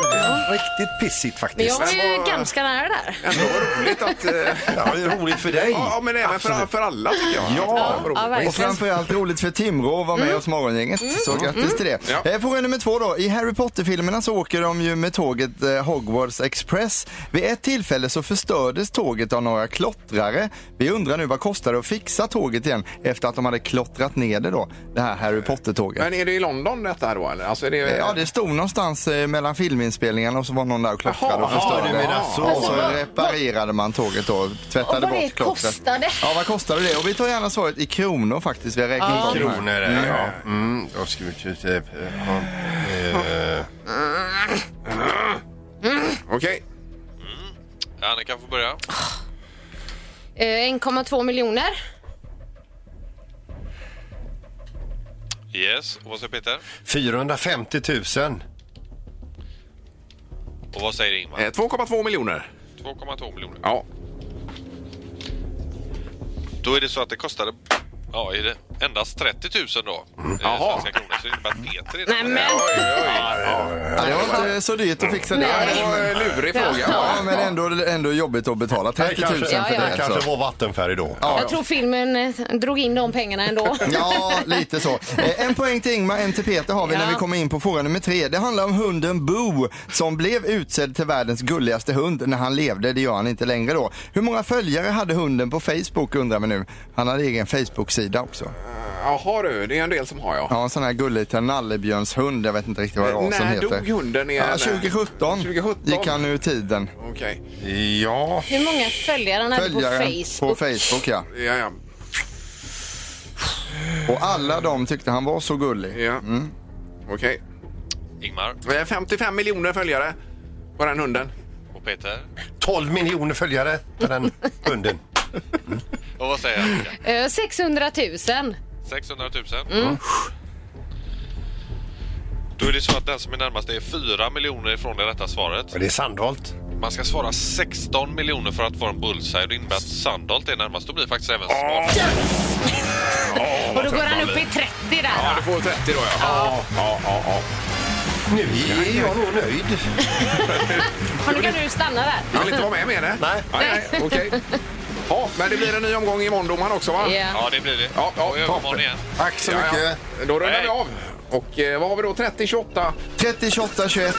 Speaker 6: riktigt pissigt
Speaker 5: Men
Speaker 6: faktiskt.
Speaker 5: jag var ju
Speaker 4: Mm. vad-
Speaker 5: ganska nära där.
Speaker 4: Ändå roligt att... eh,
Speaker 6: Ja, det är roligt för dig.
Speaker 4: Ja, men även för,
Speaker 6: Absolut.
Speaker 4: för alla tycker jag.
Speaker 6: Ja.
Speaker 4: Vad roligt.
Speaker 5: Ja,
Speaker 7: Och
Speaker 5: verkligen. Mm.
Speaker 7: framförallt roligt för Timrå att vara med oss Morgongänget. Så grattis till det.
Speaker 4: Ja.
Speaker 7: Eh, Fråga nummer två då. I Harry Potter-filmerna så åker de ju med tåget eh, Hogwarts Express. Vid ett tillfälle så förstördes tåget av några klottrare. Vi undrar nu vad kostar det att fixa tåget igen efter att de hade klottrat ner det då, det här Harry Potter-tåget.
Speaker 4: Men är det i London detta här då eller? Alltså är det...
Speaker 7: Eh, Ja, det stod någonstans eh, mellan filminspelningarna och så var någon där och klottrade
Speaker 4: Jaha,
Speaker 7: och förstörde.
Speaker 4: ja, du menar så.
Speaker 7: Och så reparerade man tåget då,
Speaker 5: Och
Speaker 7: tvättade
Speaker 5: vad det
Speaker 7: bort klottret.
Speaker 5: kostade.
Speaker 7: Ja, vad kostade det? Och vi tar gärna svaret i kronor faktiskt. Vi har räknat om här.
Speaker 6: Kronor, eh, ja. Mm, då ska vi typ... eh, ha- eh,
Speaker 4: Okej.
Speaker 10: Mm. Annika får börja.
Speaker 5: Eh, 1,2 miljoner.
Speaker 10: Yes. Och vad säger Peter?
Speaker 6: 450 000.
Speaker 10: Och vad säger Ingmar?
Speaker 4: Eh, 2,2 miljoner.
Speaker 10: 2,2 miljoner.
Speaker 4: Ja.
Speaker 10: Då är det så att det kostade ja, är det endast 30 000 då. Mm.
Speaker 4: Jaha.
Speaker 10: Svenska kronor. Så det innebär att Peter är
Speaker 5: Nej, men.
Speaker 7: Ja, det var inte så dyrt att fixa det.
Speaker 4: Det var en lurig fråga.
Speaker 7: Ja, men ändå, ändå jobbigt att betala 30 000 för
Speaker 5: Ja, ja.
Speaker 7: det.
Speaker 6: kanske
Speaker 7: Alltså.
Speaker 6: var vattenfärg då.
Speaker 5: Jag tror filmen eh, drog in de pengarna ändå.
Speaker 7: Ja, lite så. Eh, En poäng till Ingmar, en till Peter har vi när
Speaker 5: Ja.
Speaker 7: vi kommer in på fråga nummer tre. Det handlar om hunden Boo som blev utsedd till världens gulligaste hund när han levde. Det gör han inte längre då. Hur många följare hade hunden på Facebook undrar vi nu. Han hade egen Facebook-sida också.
Speaker 4: Eh, Jaha du, det är en del som har ja.
Speaker 7: Ja, en sån här gullig liten nallebjörnshund. Jag vet inte riktigt vad
Speaker 4: Eh,
Speaker 7: rasen
Speaker 4: när
Speaker 7: heter.
Speaker 4: dog hunden igen?
Speaker 7: Ja, 2017,
Speaker 4: 2017.
Speaker 7: gick han ur tiden.
Speaker 4: Okej.
Speaker 6: Ja,
Speaker 5: Hur många följare han hade på
Speaker 7: Följaren på
Speaker 5: Facebook?
Speaker 7: Facebook ja.
Speaker 4: Ja, ja.
Speaker 7: Och alla de tyckte han var så gullig. Mm.
Speaker 4: ja. Okej.
Speaker 10: Ingmar
Speaker 4: Eh, 55 miljoner följare på den hunden.
Speaker 10: och Peter.
Speaker 6: 12 miljoner följare på den hunden.
Speaker 10: Och vad säger Annika?
Speaker 5: Eh, 600 000.
Speaker 10: 600 000.
Speaker 4: Mm.
Speaker 10: Då är det så att den som är närmast är 4 miljoner ifrån det rätta svaret.
Speaker 6: Och det är Sandholt.
Speaker 10: Man ska svara 16 miljoner för att få en bullseye. Det innebär att Sandholt är närmast. Då blir det faktiskt även svar.
Speaker 5: Och då går han upp i 30 där.
Speaker 4: Ja, du får 30 då ja.
Speaker 6: Nu är jag nog nöjd.
Speaker 5: Och nu kan du stanna där.
Speaker 4: Du vill inte vara med menar
Speaker 6: Nej.
Speaker 4: Nej, nej, okej. Ja, men det blir en ny omgång i måndag också va?
Speaker 5: Ja.
Speaker 10: Ja, det blir det.
Speaker 4: Ja, ja,
Speaker 10: och i övermorgon igen.
Speaker 6: Tack så
Speaker 4: Ja,
Speaker 6: mycket.
Speaker 4: ja. Då rundar vi av. Och eh, vad har vi då? 30, 28.
Speaker 7: 30, 28, 21.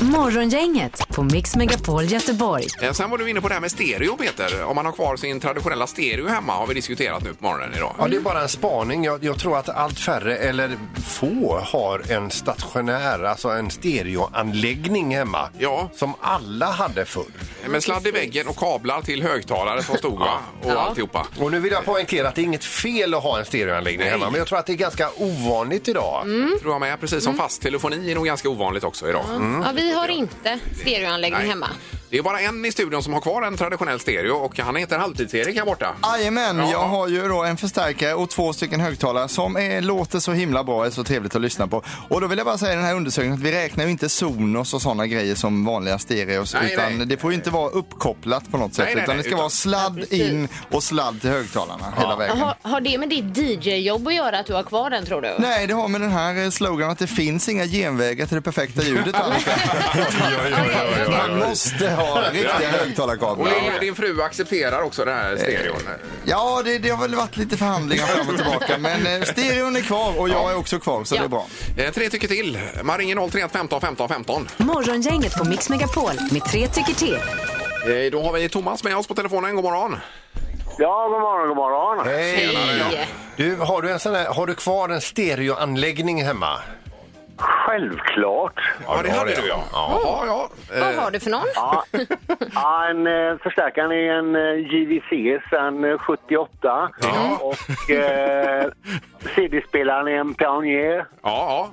Speaker 3: Morgongänget på Mix Megapol Göteborg.
Speaker 4: Eh, Sen var du inne på det här med stereo Peter. Om man har kvar sin traditionella stereo hemma har vi diskuterat nu på morgonen idag.
Speaker 6: Ja, det är bara en spaning. Jag, jag tror att allt färre, eller få, har en stationär, alltså en stereoanläggning hemma.
Speaker 4: Ja.
Speaker 6: Som alla hade förr.
Speaker 4: Men sladd i väggen och kablar till högtalare som stod va? Och alltihopa.
Speaker 6: Och nu vill jag poängtera att det är inget fel att ha en stereoanläggning hemma, men jag tror att det är ganska ovanligt idag.
Speaker 4: Mm.
Speaker 6: Mm.
Speaker 4: Tror jag med. Precis som fast telefoni är nog ganska ovanligt också idag. Mm.
Speaker 5: ja, vi har inte stereoanläggning
Speaker 4: Nej.
Speaker 5: hemma.
Speaker 4: Det är bara en i studion som har kvar en traditionell stereo och han heter Halvtids-Erik här borta.
Speaker 7: Jajamän,
Speaker 4: Ja.
Speaker 7: jag har ju då en förstärkare och två stycken högtalare som är, låter så himla bra och är så trevligt att lyssna på. Och då vill jag bara säga i den här undersökningen att vi räknar ju inte Sonos och sådana grejer som vanliga stereos.
Speaker 4: Nej,
Speaker 7: utan
Speaker 4: nej.
Speaker 7: det får ju inte vara uppkopplat på något sätt.
Speaker 4: Nej, nej,
Speaker 7: utan det
Speaker 4: nej,
Speaker 7: ska
Speaker 4: utan-
Speaker 7: vara sladd in och sladd till högtalarna hela vägen.
Speaker 5: Har, har det med ditt DJ-jobb att göra att du har kvar den tror du?
Speaker 7: Nej, det har med den här eh, slogan att det finns inga genvägar till det perfekta ljudet. Annika. Man måste ha riktiga
Speaker 4: Och
Speaker 7: högtalarkablar.
Speaker 4: din, din fru accepterar också den
Speaker 6: Eh.
Speaker 4: här stereon.
Speaker 7: Ja, det, det har väl varit lite förhandlingar fram och tillbaka. Men eh, stereon är kvar och jag är också kvar, så
Speaker 5: Ja.
Speaker 7: det är bra.
Speaker 4: Eh, tre tycker till. Man ringer 031 15 15 15.
Speaker 3: Morgongänget på Mix Megapol med tre tycker till.
Speaker 4: Eh, då har vi Thomas med oss på telefonen. God morgon.
Speaker 8: Ja, god morgon, god morgon.
Speaker 6: Hej!
Speaker 5: Nej.
Speaker 6: Du, har, du en sån här, har du kvar en stereoanläggning hemma?
Speaker 8: Självklart.
Speaker 4: Ja, det
Speaker 6: har
Speaker 4: hade
Speaker 6: jag.
Speaker 4: du ja. Jaha, ja. Eh,
Speaker 5: Vad har du för någon?
Speaker 8: Ja, ja, en eh, förstärkare är en eh, JVC sedan eh, 78
Speaker 4: Mm.
Speaker 8: och eh, CD-spelaren är en Pioneer Mm.
Speaker 4: Ja, ja.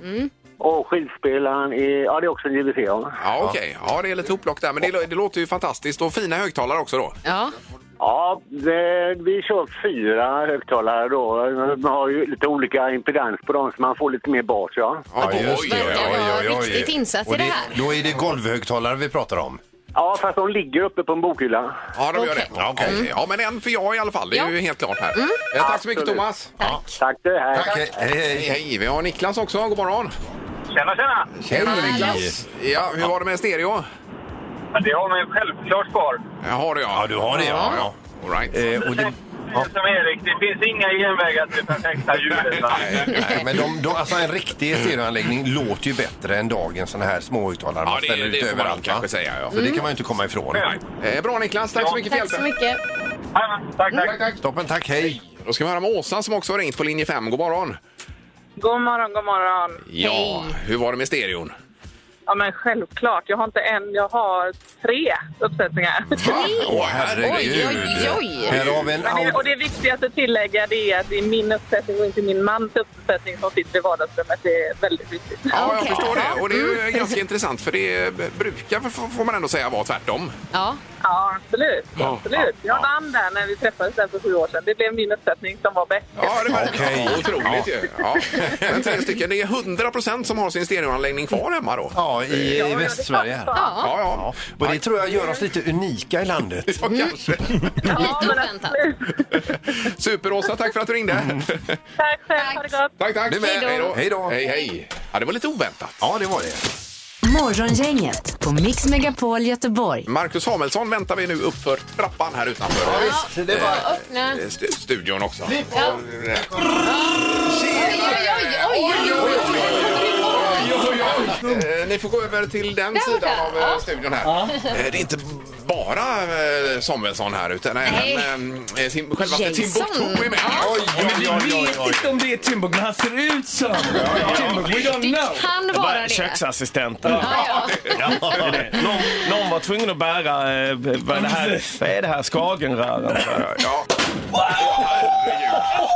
Speaker 8: och skivspelaren är, ja det är också en JVC. Ja,
Speaker 4: ja okej. Ja, det är lite hopplock där. Men det, lå- det låter ju fantastiskt. Och fina högtalare också då.
Speaker 5: Ja.
Speaker 8: ja det, vi kör fyra högtalare då. Man har ju lite olika impedans på dem så man får lite mer bas ja.
Speaker 4: Ja,
Speaker 6: just det.
Speaker 5: Verkar vara riktigt insatt i
Speaker 6: Och
Speaker 5: det här.
Speaker 6: Då är det golvhögtalare vi pratar om.
Speaker 8: Ja, fast de ligger uppe på en bokhylla.
Speaker 4: Ja, de gör
Speaker 5: Okej.
Speaker 4: det. Ja, okej.
Speaker 8: Mm.
Speaker 4: ja, men en för jag i alla fall. Det är
Speaker 5: Ja.
Speaker 4: ju helt klart här. Eh, tack så mycket,
Speaker 8: Absolut.
Speaker 4: Thomas.
Speaker 5: Tack.
Speaker 8: Tack du, hej.
Speaker 6: Tack, hej,
Speaker 4: Hej,
Speaker 6: hej.
Speaker 4: hej. Vi har Niklas också. God morgon.
Speaker 8: Tjena, tjena!
Speaker 4: Tjena,
Speaker 6: Niklas.
Speaker 4: Ja, hur var det med stereo?
Speaker 8: Det har man ju självklart kvar.
Speaker 4: Jaha, det ja.
Speaker 6: Ja, du har det, ja.
Speaker 4: ja. All right.
Speaker 6: Eh, och det, ja.
Speaker 8: Som Erik, det finns inga genvägar till perfekta ljudet. va?
Speaker 6: Nej, men de, de, alltså en riktig stereoanläggning låter ju bättre än dagens såna här småhögtalare
Speaker 4: Ja, det- det får man kanske säga, ja.
Speaker 6: Så det kan man ju inte komma ifrån.
Speaker 8: Mm.
Speaker 4: Eh, Bra Niklas, tack så mycket för
Speaker 5: Tack så
Speaker 4: hjälpen.
Speaker 5: mycket.
Speaker 8: Tack,
Speaker 4: Tack,
Speaker 2: Mm.
Speaker 4: tack.
Speaker 6: Toppen, tack, hej.
Speaker 4: Då ska vi höra med Åsa som också har ringt på linje 5. God morgon.
Speaker 2: God morgon, god morgon.
Speaker 4: Ja, hur var det med stereon?
Speaker 2: Ja, men självklart. Jag har inte en, jag har tre uppsättningar.
Speaker 4: Va? Åh,
Speaker 5: Oj,
Speaker 4: herregud.
Speaker 5: oj, oj.
Speaker 6: Här har vi en
Speaker 2: Men det, och
Speaker 6: Audi.
Speaker 2: det viktigaste att tillägga det är att det är min uppsättning och inte min mans uppsättning som sitter i vardagsrummet. Det är väldigt viktigt.
Speaker 4: Ja, jag
Speaker 5: Okej.
Speaker 4: förstår det. Och det är ju ganska intressant för det brukar, f- f- får man ändå säga, vara tvärtom.
Speaker 5: Ja.
Speaker 2: Ja, absolut.
Speaker 4: Ja,
Speaker 2: absolut. Jag vann där när vi träffades där för sju år sedan. Det blev min uppsättning som var bäst.
Speaker 4: Ja, det var
Speaker 6: Okej.
Speaker 4: ja, otroligt ju. Ja. Men tre stycken, det är 100 procent som har sin stereoanläggning kvar hemma då.
Speaker 6: Ja, i, i Västsverige. här.
Speaker 5: Ja.
Speaker 4: Ja, ja.
Speaker 6: Ja, och det tror jag gör oss lite unika i landet.
Speaker 4: Ja, kanske.
Speaker 2: Ja,
Speaker 5: Mm. Lite
Speaker 2: men
Speaker 5: oväntat.
Speaker 2: absolut.
Speaker 4: Super, Åsa. Tack för att du ringde.
Speaker 2: Tack själv. Ha det gott.
Speaker 4: Tack, tack.
Speaker 6: Mm. Du med.
Speaker 4: Hej då.
Speaker 6: Hej då.
Speaker 4: Hej, hej. Ja, det var lite oväntat.
Speaker 6: Ja, det var det.
Speaker 3: Morgongänget på Mix Megapol Göteborg.
Speaker 4: Marcus Samuelsson väntar vi nu uppför trappan här utanför.
Speaker 6: Ja, visst, det var...
Speaker 5: Öppna.
Speaker 4: Eh, stu- studion också.
Speaker 5: Ja. Oj, oj, oj, oj, oj, oj.
Speaker 4: Eh, Ni får gå över till den sidan av eh, studion här. Eh, Det är inte bara eh, Samuelsson här utan även eh, Tim, självaste
Speaker 5: Jason.
Speaker 4: Timbuktu är med.
Speaker 6: Oj, oj, oj, oj, oj.
Speaker 9: inte om det är Timbuktu han ser ut som. Timbuktu, we don't know.
Speaker 5: Kan vara det.
Speaker 9: Köksassistent. Ja.
Speaker 5: Ja, ja.
Speaker 9: det är det. Någon, någon var tvungen att bära, eh, vad är det här, vad är det här skagenröran?
Speaker 4: Ja. Åh, herregud.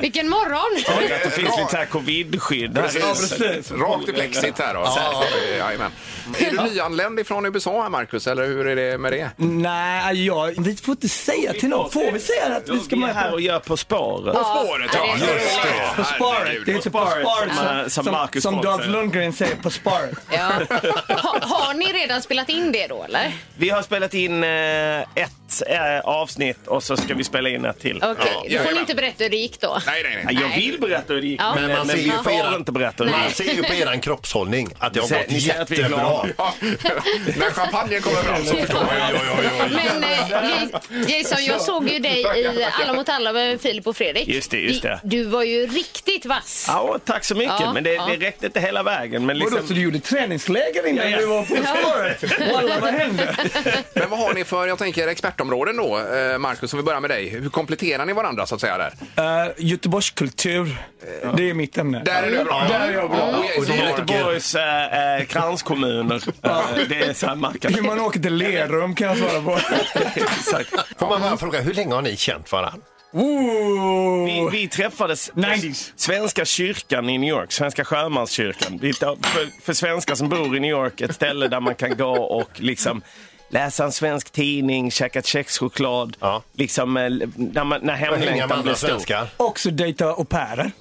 Speaker 5: Vilken morgon!
Speaker 9: Att det finns lite så här covid-skydd. här i huset.
Speaker 4: Rakt i plexit här då. Eh, Jajamän. Är du nyanländ ifrån USA här Marcus eller hur är det med det?
Speaker 9: Nej, jag, vi får inte säga till någon. Får vi säga att vi ska vara här och göra På spåret?
Speaker 4: På spåret ja.
Speaker 5: det är
Speaker 4: Just det.
Speaker 9: På
Speaker 4: Herregud.
Speaker 9: spåret. Det heter På spåret som, som, som, Dolph Lundgren säger, På spåret.
Speaker 5: Ja. Ha, har ni redan spelat in det då eller?
Speaker 9: Vi har spelat in eh, ett eh, avsnitt och så ska vi spela in ett till.
Speaker 5: Okej, då
Speaker 4: Ja,
Speaker 5: får ni
Speaker 4: jajamän.
Speaker 5: inte berätta hur det gick då.
Speaker 4: Nej, nej,
Speaker 9: Ja,
Speaker 4: nej.
Speaker 9: Jag vill berätta hur det gick,
Speaker 5: Ja.
Speaker 9: men,
Speaker 5: Men
Speaker 9: men,
Speaker 6: man ser
Speaker 9: vi
Speaker 6: ju på
Speaker 9: får
Speaker 6: era-
Speaker 9: inte berätta hur det
Speaker 6: Man
Speaker 9: gick.
Speaker 6: ser ju på er kroppshållning att det har
Speaker 9: Ser-
Speaker 6: gått
Speaker 9: ni ser att vi är
Speaker 6: jättebra.
Speaker 9: glada.
Speaker 4: Ja. När champagnen kommer fram så förstår man ju. Oj, oj, oj, oj.
Speaker 5: Men eh, J- Jason, jag såg ju dig i Alla mot alla med Filip och Fredrik.
Speaker 9: Just det, just det.
Speaker 5: Du, du var ju riktigt vass.
Speaker 9: Ja, tack så mycket,
Speaker 5: Ja,
Speaker 9: men det,
Speaker 5: ja.
Speaker 9: det räckte inte hela vägen. Men liksom...
Speaker 2: Vadå, så du gjorde träningsläger innan
Speaker 9: Ja, ja.
Speaker 2: du var på spåret? Walla, vad hände?
Speaker 4: Men vad har ni för, jag tänker expertområden då, eh, Marcus, om vi börjar med dig. Hur kompletterar ni varandra så att säga där?
Speaker 9: Eh,
Speaker 2: Göteborgskultur, det är mitt ämne.
Speaker 4: Där är du bra.
Speaker 2: Där är jag bra.
Speaker 4: Ja, och
Speaker 9: Och det
Speaker 4: Jason
Speaker 9: är
Speaker 4: har-
Speaker 9: Göteborgs äh, äh, kranskommuner. Eh, det är så här mackan.
Speaker 2: Hur man åker till Lerum kan jag svara på.
Speaker 9: Exakt.
Speaker 6: Får man bara fråga, hur länge har ni känt varandra?
Speaker 2: Ooh.
Speaker 9: Vi, vi träffades på
Speaker 2: Nice.
Speaker 9: Svenska kyrkan i New York, Svenska sjömanskyrkan. Vi tar- För, för svenskar som bor i New York, ett ställe där man kan gå och liksom läsa en svensk tidning, käka kexchoklad,
Speaker 6: Ja.
Speaker 9: liksom eh, när, man, när
Speaker 6: Hänga med
Speaker 9: hemlängtan blir
Speaker 6: andra
Speaker 9: stor.
Speaker 6: svenskar?
Speaker 2: Också dejta au pairer.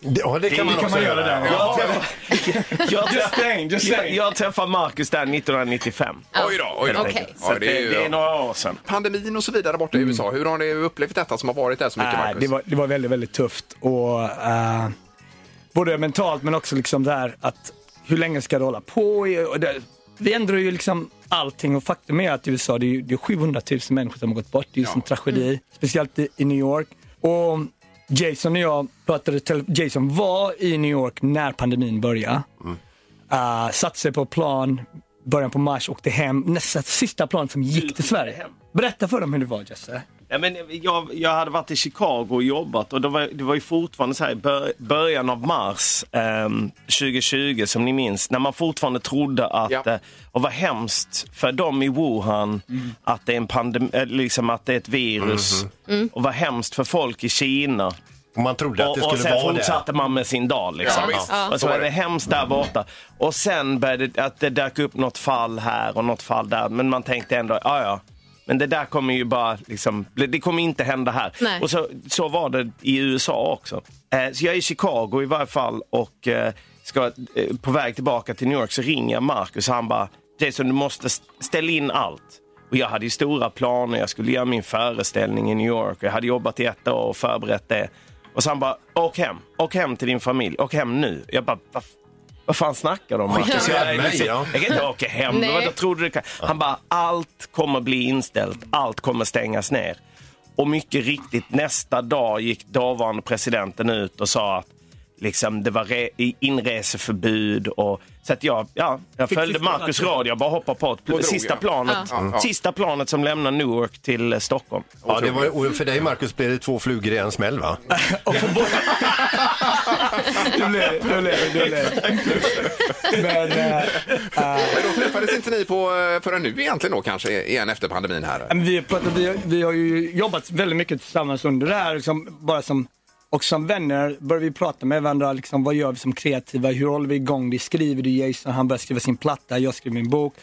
Speaker 6: Det- Ja, det kan man också göra.
Speaker 9: Jag träffade- jag
Speaker 2: Just saying, just
Speaker 9: träffade-
Speaker 2: saying.
Speaker 9: Jag träffade Marcus där 1995.
Speaker 4: Oj då, oj då.
Speaker 5: Okej.
Speaker 9: Så
Speaker 4: Ja,
Speaker 9: att
Speaker 4: det är ju,
Speaker 9: några år sedan.
Speaker 4: Pandemin och så vidare borta i USA, hur har ni upplevt detta som har varit där så mycket,
Speaker 2: Nej,
Speaker 4: Marcus?
Speaker 2: det, var, det var väldigt, väldigt tufft. Och, eh, både mentalt men också liksom det här att hur länge ska det hålla på? Och det, vi ändrar ju liksom allting och faktum är att i USA det är, ju- det är 700 000 människor som har gått bort. Det är ju
Speaker 4: Ja. Mm.
Speaker 2: en tragedi, speciellt i, i New York. Och Jason och jag pratade, tele- Jason var i New York när pandemin började.
Speaker 4: Mm.
Speaker 2: Eh, satte sig på plan, början på mars, åkte hem. Nästa sista plan som gick till Sverige. Berätta för dem hur det var Jesse.
Speaker 9: Ja, men jag, jag hade varit i Chicago och jobbat och det var, det var ju fortfarande så här i bör, början av mars ehm, 2020 som ni minns. När man fortfarande trodde att,
Speaker 4: Ja.
Speaker 9: eh, och vad hemskt för dem i Wuhan att, det är en pandem, eh, liksom att det är ett virus.
Speaker 4: Mhm.
Speaker 9: Och vad hemskt för folk i Kina.
Speaker 6: Och man trodde att det
Speaker 9: Och, och
Speaker 6: skulle
Speaker 9: sen
Speaker 6: vara det.
Speaker 9: fortsatte man med sin dag. Liksom.
Speaker 4: Ja, visst.
Speaker 9: Och så var det hemskt där borta. Och sen började det, att det dök upp något fall här och något fall där. Men man tänkte ändå, ja ja. Men det där kommer ju bara, liksom, det kommer inte hända här.
Speaker 5: Nej.
Speaker 9: Och så, så var det i USA också. Eh, så jag är i Chicago i varje fall och eh, ska, eh, på väg tillbaka till New York så ringer jag Marcus och han bara, Jason, du måste st- ställa in allt. Och jag hade ju stora planer, jag skulle göra min föreställning i New York. Jag hade jobbat i ett år och förberett det. Och sen bara, åk hem, åk hem till din familj, åk hem nu. Jag bara, vad f- vad fan snackar de om? Marcus?
Speaker 6: iväg
Speaker 9: Jag är
Speaker 6: mig,
Speaker 9: liksom-
Speaker 6: ja.
Speaker 9: jag kan inte åka hem.
Speaker 5: Nej.
Speaker 9: Vadå, trodde du kan? Han bara, allt kommer bli inställt, allt kommer stängas ner. Och mycket riktigt, nästa dag gick dåvarande presidenten ut och sa att liksom, det var re- i- inreseförbud. Och, så att jag, ja, jag
Speaker 2: Fick
Speaker 9: följde
Speaker 2: sista
Speaker 9: Marcus
Speaker 2: natten.
Speaker 9: radio, jag bara hoppade på ett, pl-
Speaker 4: drog,
Speaker 9: sista,
Speaker 4: ja.
Speaker 9: planet,
Speaker 4: Ja. Ja.
Speaker 9: sista planet som lämnar Newark till eh, Stockholm.
Speaker 6: Ja, det var, och för dig Marcus blev det två flugor i en smäll va?
Speaker 2: Och för båda... du blev du blev du blev Men eh,
Speaker 4: Men då träffades inte ni på, eh, förrän nu egentligen då kanske, igen efter pandemin här?
Speaker 2: men vi, pratar, vi, har- vi har ju jobbat väldigt mycket tillsammans under det här. Liksom, bara som, och som vänner börjar vi prata med varandra. Liksom, vad gör vi som kreativa? Hur håller vi igång det? Skriver du Jason? Han börjar skriva sin platta, jag skriver min bok.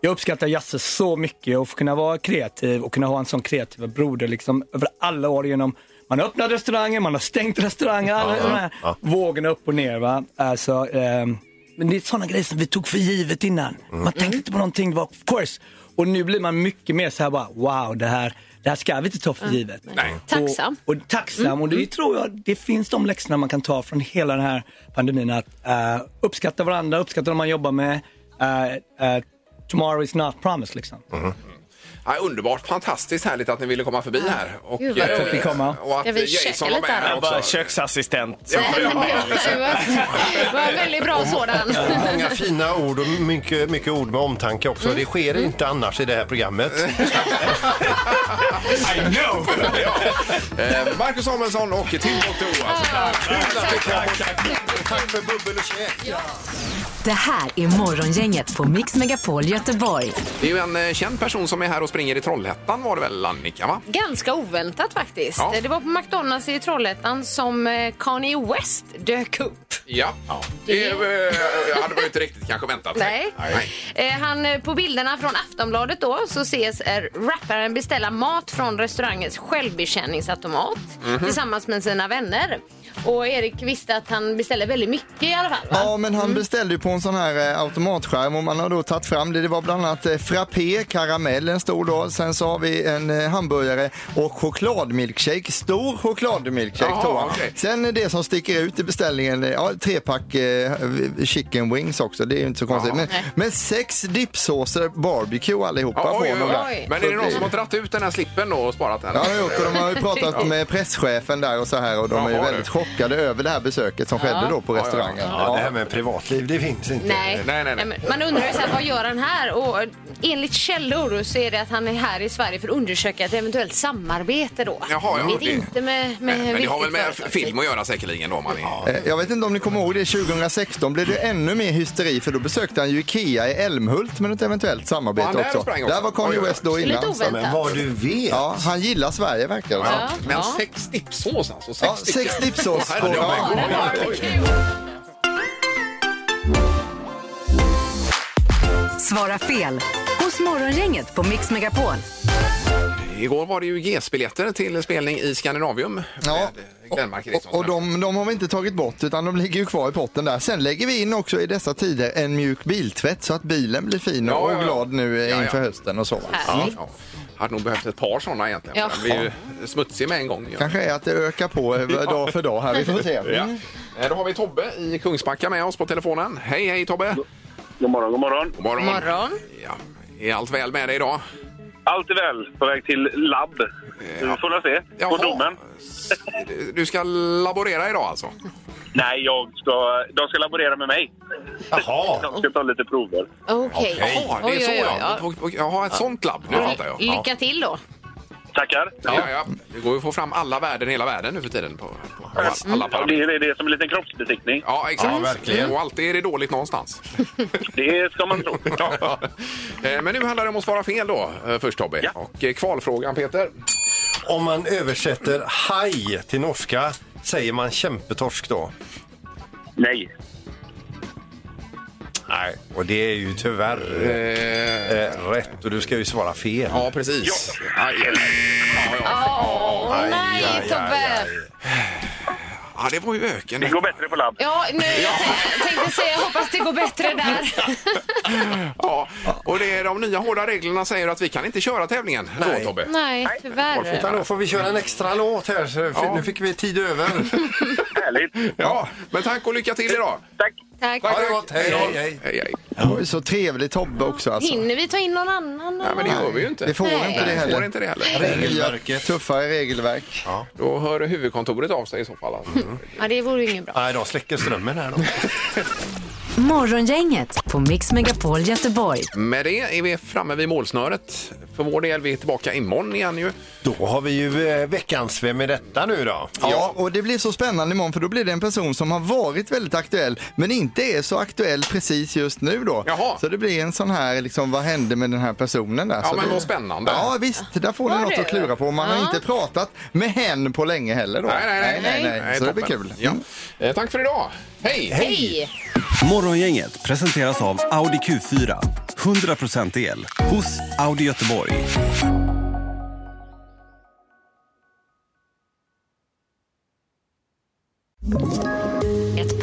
Speaker 2: Jag uppskattar Jasse så mycket och få kunna vara kreativ och kunna ha en sån kreativ broder liksom, över alla år genom man har öppnat restauranger, man har stängt restauranger, alla de här
Speaker 6: ja.
Speaker 2: vågorna upp och ner. Va? Alltså, ehm, men det är sådana grejer som vi tog för givet innan. Man tänkte inte på någonting, det var of course. Och nu blir man mycket mer så här bara, wow, det här, det här ska vi inte ta för givet.
Speaker 4: Nej. Mm.
Speaker 5: Tacksam.
Speaker 2: Och, och tacksam. Och det tror jag, det finns de läxorna man kan ta från hela den här pandemin. Att eh, uppskatta varandra, uppskatta de man jobbar med. Eh, eh, tomorrow is not promised liksom.
Speaker 4: Ja, underbart, fantastiskt härligt att ni ville komma förbi här. Och,
Speaker 5: Gud, vad
Speaker 4: eh,
Speaker 5: roligt.
Speaker 2: komma.
Speaker 4: och att
Speaker 5: Jag vill
Speaker 4: Jason
Speaker 5: käka
Speaker 4: var med
Speaker 5: lite här.
Speaker 4: här
Speaker 9: Jag bara
Speaker 4: också.
Speaker 9: köksassistent. Så
Speaker 5: Nej,
Speaker 9: får jag
Speaker 5: men
Speaker 9: vara.
Speaker 5: det- det var- det var en väldigt bra sådan.
Speaker 6: Många fina ord och mycket, mycket ord med omtanke också. Det sker inte annars i det här programmet.
Speaker 4: Eh, Marcus Samuelsson och Tim och Toa.
Speaker 6: Tack för bubbel och käk.
Speaker 3: Det här är Morgongänget på Mix Megapol Göteborg.
Speaker 4: Det är ju en eh, känd person som är här och springer i Trollhättan var det väl Annika va?
Speaker 5: Ganska oväntat faktiskt.
Speaker 4: Ja.
Speaker 5: Det var på McDonalds i Trollhättan som eh, Kanye West dök upp.
Speaker 4: Ja, det eh, hade man ju inte riktigt kanske väntat sig.
Speaker 5: Nej. Eh, han, eh, på bilderna från Aftonbladet då så ses eh, rapparen beställa mat från restaurangens självbetjäningsautomat
Speaker 7: Mhm.
Speaker 5: tillsammans med sina vänner. Och Erik visste att han beställer väldigt mycket i alla fall. Va?
Speaker 7: Ja, men
Speaker 4: Mm.
Speaker 7: han beställde ju på en sån här eh, automatskärm och man har då tagit fram det. Det var bland annat eh, frappé, karamell en stor då. Sen så har vi en eh, hamburgare och chokladmilkshake. Stor chokladmilkshake
Speaker 4: Jaha,
Speaker 7: då.
Speaker 4: okej.
Speaker 7: Sen eh, det som sticker ut i beställningen, eh, ja, trepack eh, chicken wings också. Det är ju inte så konstigt. Men, men sex dipsåser barbecue allihopa
Speaker 4: Ja,
Speaker 7: på
Speaker 4: oj,
Speaker 7: honom
Speaker 4: oj,
Speaker 7: där.
Speaker 4: oj. Men är det någon som har dragit ut den här slippen då och sparat den?
Speaker 7: Ja, det har gjort och de har ju pratat med presschefen där och så här och de är ju
Speaker 4: Jaha,
Speaker 7: väldigt
Speaker 4: du.
Speaker 7: chockade över det här besöket som skedde då på
Speaker 4: Ja, ja, ja.
Speaker 7: restaurangen.
Speaker 6: Ja, det här med privatliv, det finns inte.
Speaker 5: Nej.
Speaker 4: nej, nej.
Speaker 5: men Man undrar ju så här, vad gör han här? Och eh, enligt källor så är det att han är här i Sverige för att undersöka ett eventuellt samarbete då.
Speaker 4: Jaha, ja,
Speaker 5: Vet
Speaker 4: det-
Speaker 5: inte med, med
Speaker 4: Men det
Speaker 5: vilket
Speaker 4: har väl med
Speaker 5: företag.
Speaker 4: film att göra säkerligen då man är...
Speaker 7: Eh, Jag vet inte om ni kommer ihåg det, 2016 blev det ännu mer hysteri för då besökte han ju Ikea i Älmhult med ett eventuellt
Speaker 4: Var
Speaker 7: samarbete
Speaker 4: han där
Speaker 7: också.
Speaker 4: och sprang också?
Speaker 7: Där var
Speaker 4: Oj,
Speaker 7: Kanye
Speaker 4: oj, oj.
Speaker 7: West då
Speaker 5: Lite
Speaker 7: innan. så-
Speaker 5: oväntat.
Speaker 6: Men vad du vet.
Speaker 7: Ja, han gillar Sverige verkar det som.
Speaker 5: Ja.
Speaker 4: Men sex dipsås alltså? Sex
Speaker 7: Ja, sex
Speaker 4: stycken.
Speaker 7: dipsås
Speaker 4: Åh,
Speaker 7: på
Speaker 4: herregud.
Speaker 7: Ja,
Speaker 5: det var det.
Speaker 4: Oj, oj, oj.
Speaker 3: Svara fel hos Morgongänget på Mix Megapol.
Speaker 4: Igår var det ju GES-biljetter till spelning i Skandinavium
Speaker 7: Ja.
Speaker 4: med Glenmark
Speaker 7: Och, och de, de har vi inte tagit bort utan de ligger ju kvar i potten där. Sen lägger vi in också i dessa tider en mjuk biltvätt så att bilen blir fin
Speaker 4: Ja,
Speaker 7: och,
Speaker 4: ja, ja.
Speaker 7: och glad nu eh,
Speaker 4: Ja, ja.
Speaker 7: inför hösten och så. va? Mm.
Speaker 5: Härligt.
Speaker 4: Ja. Hade nog behövt ett par sådana egentligen.
Speaker 5: Ja.
Speaker 4: Den blir ju smutsig med en gång. ju.
Speaker 7: Kanske är att det ökar på eh, dag för dag här, Mm. vi får se.
Speaker 4: Ja. Eh, Då har vi Tobbe i Kungsbacka med oss på telefonen. Hej, hej Tobbe!
Speaker 8: God morgon, god morgon.
Speaker 4: God morgon!
Speaker 5: Morgon.
Speaker 4: Ja. Är allt väl med dig idag?
Speaker 8: Allt är väl på väg till labb. Nu får jag se. På
Speaker 4: Jaha.
Speaker 8: domen.
Speaker 4: Du ska laborera idag alltså?
Speaker 8: Nej, jag ska, de ska laborera med mig.
Speaker 6: Jaha.
Speaker 8: De ska ta lite prover.
Speaker 5: Okej.
Speaker 4: Jaha, det är
Speaker 5: Oj,
Speaker 4: så
Speaker 5: oj, oj,
Speaker 4: ja. Och- och- Jaha, ett sånt labb. Nu fattar jag.
Speaker 5: Lycka till då.
Speaker 8: Tackar.
Speaker 4: Ja, ja. Det går ju att få fram alla värden i hela världen nu för tiden. På, på, på alla,
Speaker 5: Mm.
Speaker 4: alla
Speaker 8: Ja,
Speaker 4: parametrar.
Speaker 8: det, är- det är som en liten kroppsbesiktning.
Speaker 4: Ja, exakt. Mm.
Speaker 6: Ja, verkligen.
Speaker 4: Och alltid är det dåligt någonstans.
Speaker 8: Det ska man tro.
Speaker 4: Ja. Eh, Men nu handlar det om att svara fel då, eh, först Tobbe.
Speaker 8: Ja.
Speaker 4: Och eh, kvalfrågan Peter.
Speaker 6: Om man översätter haj till norska säger man kämpetorsk då?
Speaker 8: Nej.
Speaker 6: Nej. Och det är ju tyvärr
Speaker 4: Eh,
Speaker 6: eh, rätt och du ska ju svara fel.
Speaker 4: Ja, precis. Aj, aj, aj. Ja, ja.
Speaker 5: Åh, nej Tobbe.
Speaker 4: Ja, det var ju öken.
Speaker 8: Det går bättre på labb.
Speaker 5: Ja, nu jag tänkte säga jag hoppas det går bättre där.
Speaker 4: Ja, och det är de nya hårda reglerna säger att vi kan inte köra tävlingen då,
Speaker 6: Nej.
Speaker 4: Tobbe.
Speaker 5: Nej, tyvärr.
Speaker 6: Utan då får vi köra en extra låt här, så för
Speaker 4: Ja.
Speaker 6: nu fick vi tid över.
Speaker 8: Härligt.
Speaker 4: Ja, men tack och lycka till idag.
Speaker 8: Tack.
Speaker 5: Tack.
Speaker 6: Ha det gott, hej, hej, hej.
Speaker 4: Hej, hej.
Speaker 7: Det var ju så trevlig Tobbe också alltså.
Speaker 5: Hinner vi ta in någon annan?
Speaker 4: Nej, men det gör vi ju inte.
Speaker 7: Vi får
Speaker 5: Nej.
Speaker 7: inte det
Speaker 4: Får
Speaker 7: heller.
Speaker 4: inte det heller.
Speaker 7: Regelverket. Tuffare regelverk.
Speaker 4: Då hör huvudkontoret av sig i så fall. Alltså.
Speaker 6: Mm.
Speaker 5: Ja, det vore ju inget bra.
Speaker 6: Nej, de släcker strömmen här då.
Speaker 3: Morgongänget på Mix Megapol Göteborg.
Speaker 4: Med det är vi framme vid målsnöret. För vår del, vi är tillbaka imorgon igen ju.
Speaker 6: Då har vi ju eh, veckans Vem är detta nu då?
Speaker 7: Ja, och det blir så spännande imorgon för då blir det en person som har varit väldigt aktuell men inte är så aktuell precis just nu då.
Speaker 4: Jaha.
Speaker 7: Så det blir en sån här, liksom, vad hände med den här personen där?
Speaker 4: Ja,
Speaker 7: så
Speaker 4: men
Speaker 7: det...
Speaker 4: vad spännande.
Speaker 7: Ja visst, där får ni
Speaker 5: Var
Speaker 7: något
Speaker 5: det?
Speaker 7: att klura på. Man har
Speaker 5: Ja.
Speaker 7: inte pratat med hen på länge heller då. Så det blir
Speaker 4: toppen.
Speaker 7: kul. Mm.
Speaker 4: Ja. Eh, tack för idag. Hej!
Speaker 5: Hej!
Speaker 11: Morgongänget presenteras av Audi Q4. 100% el hos Audi Göteborg.
Speaker 3: Ett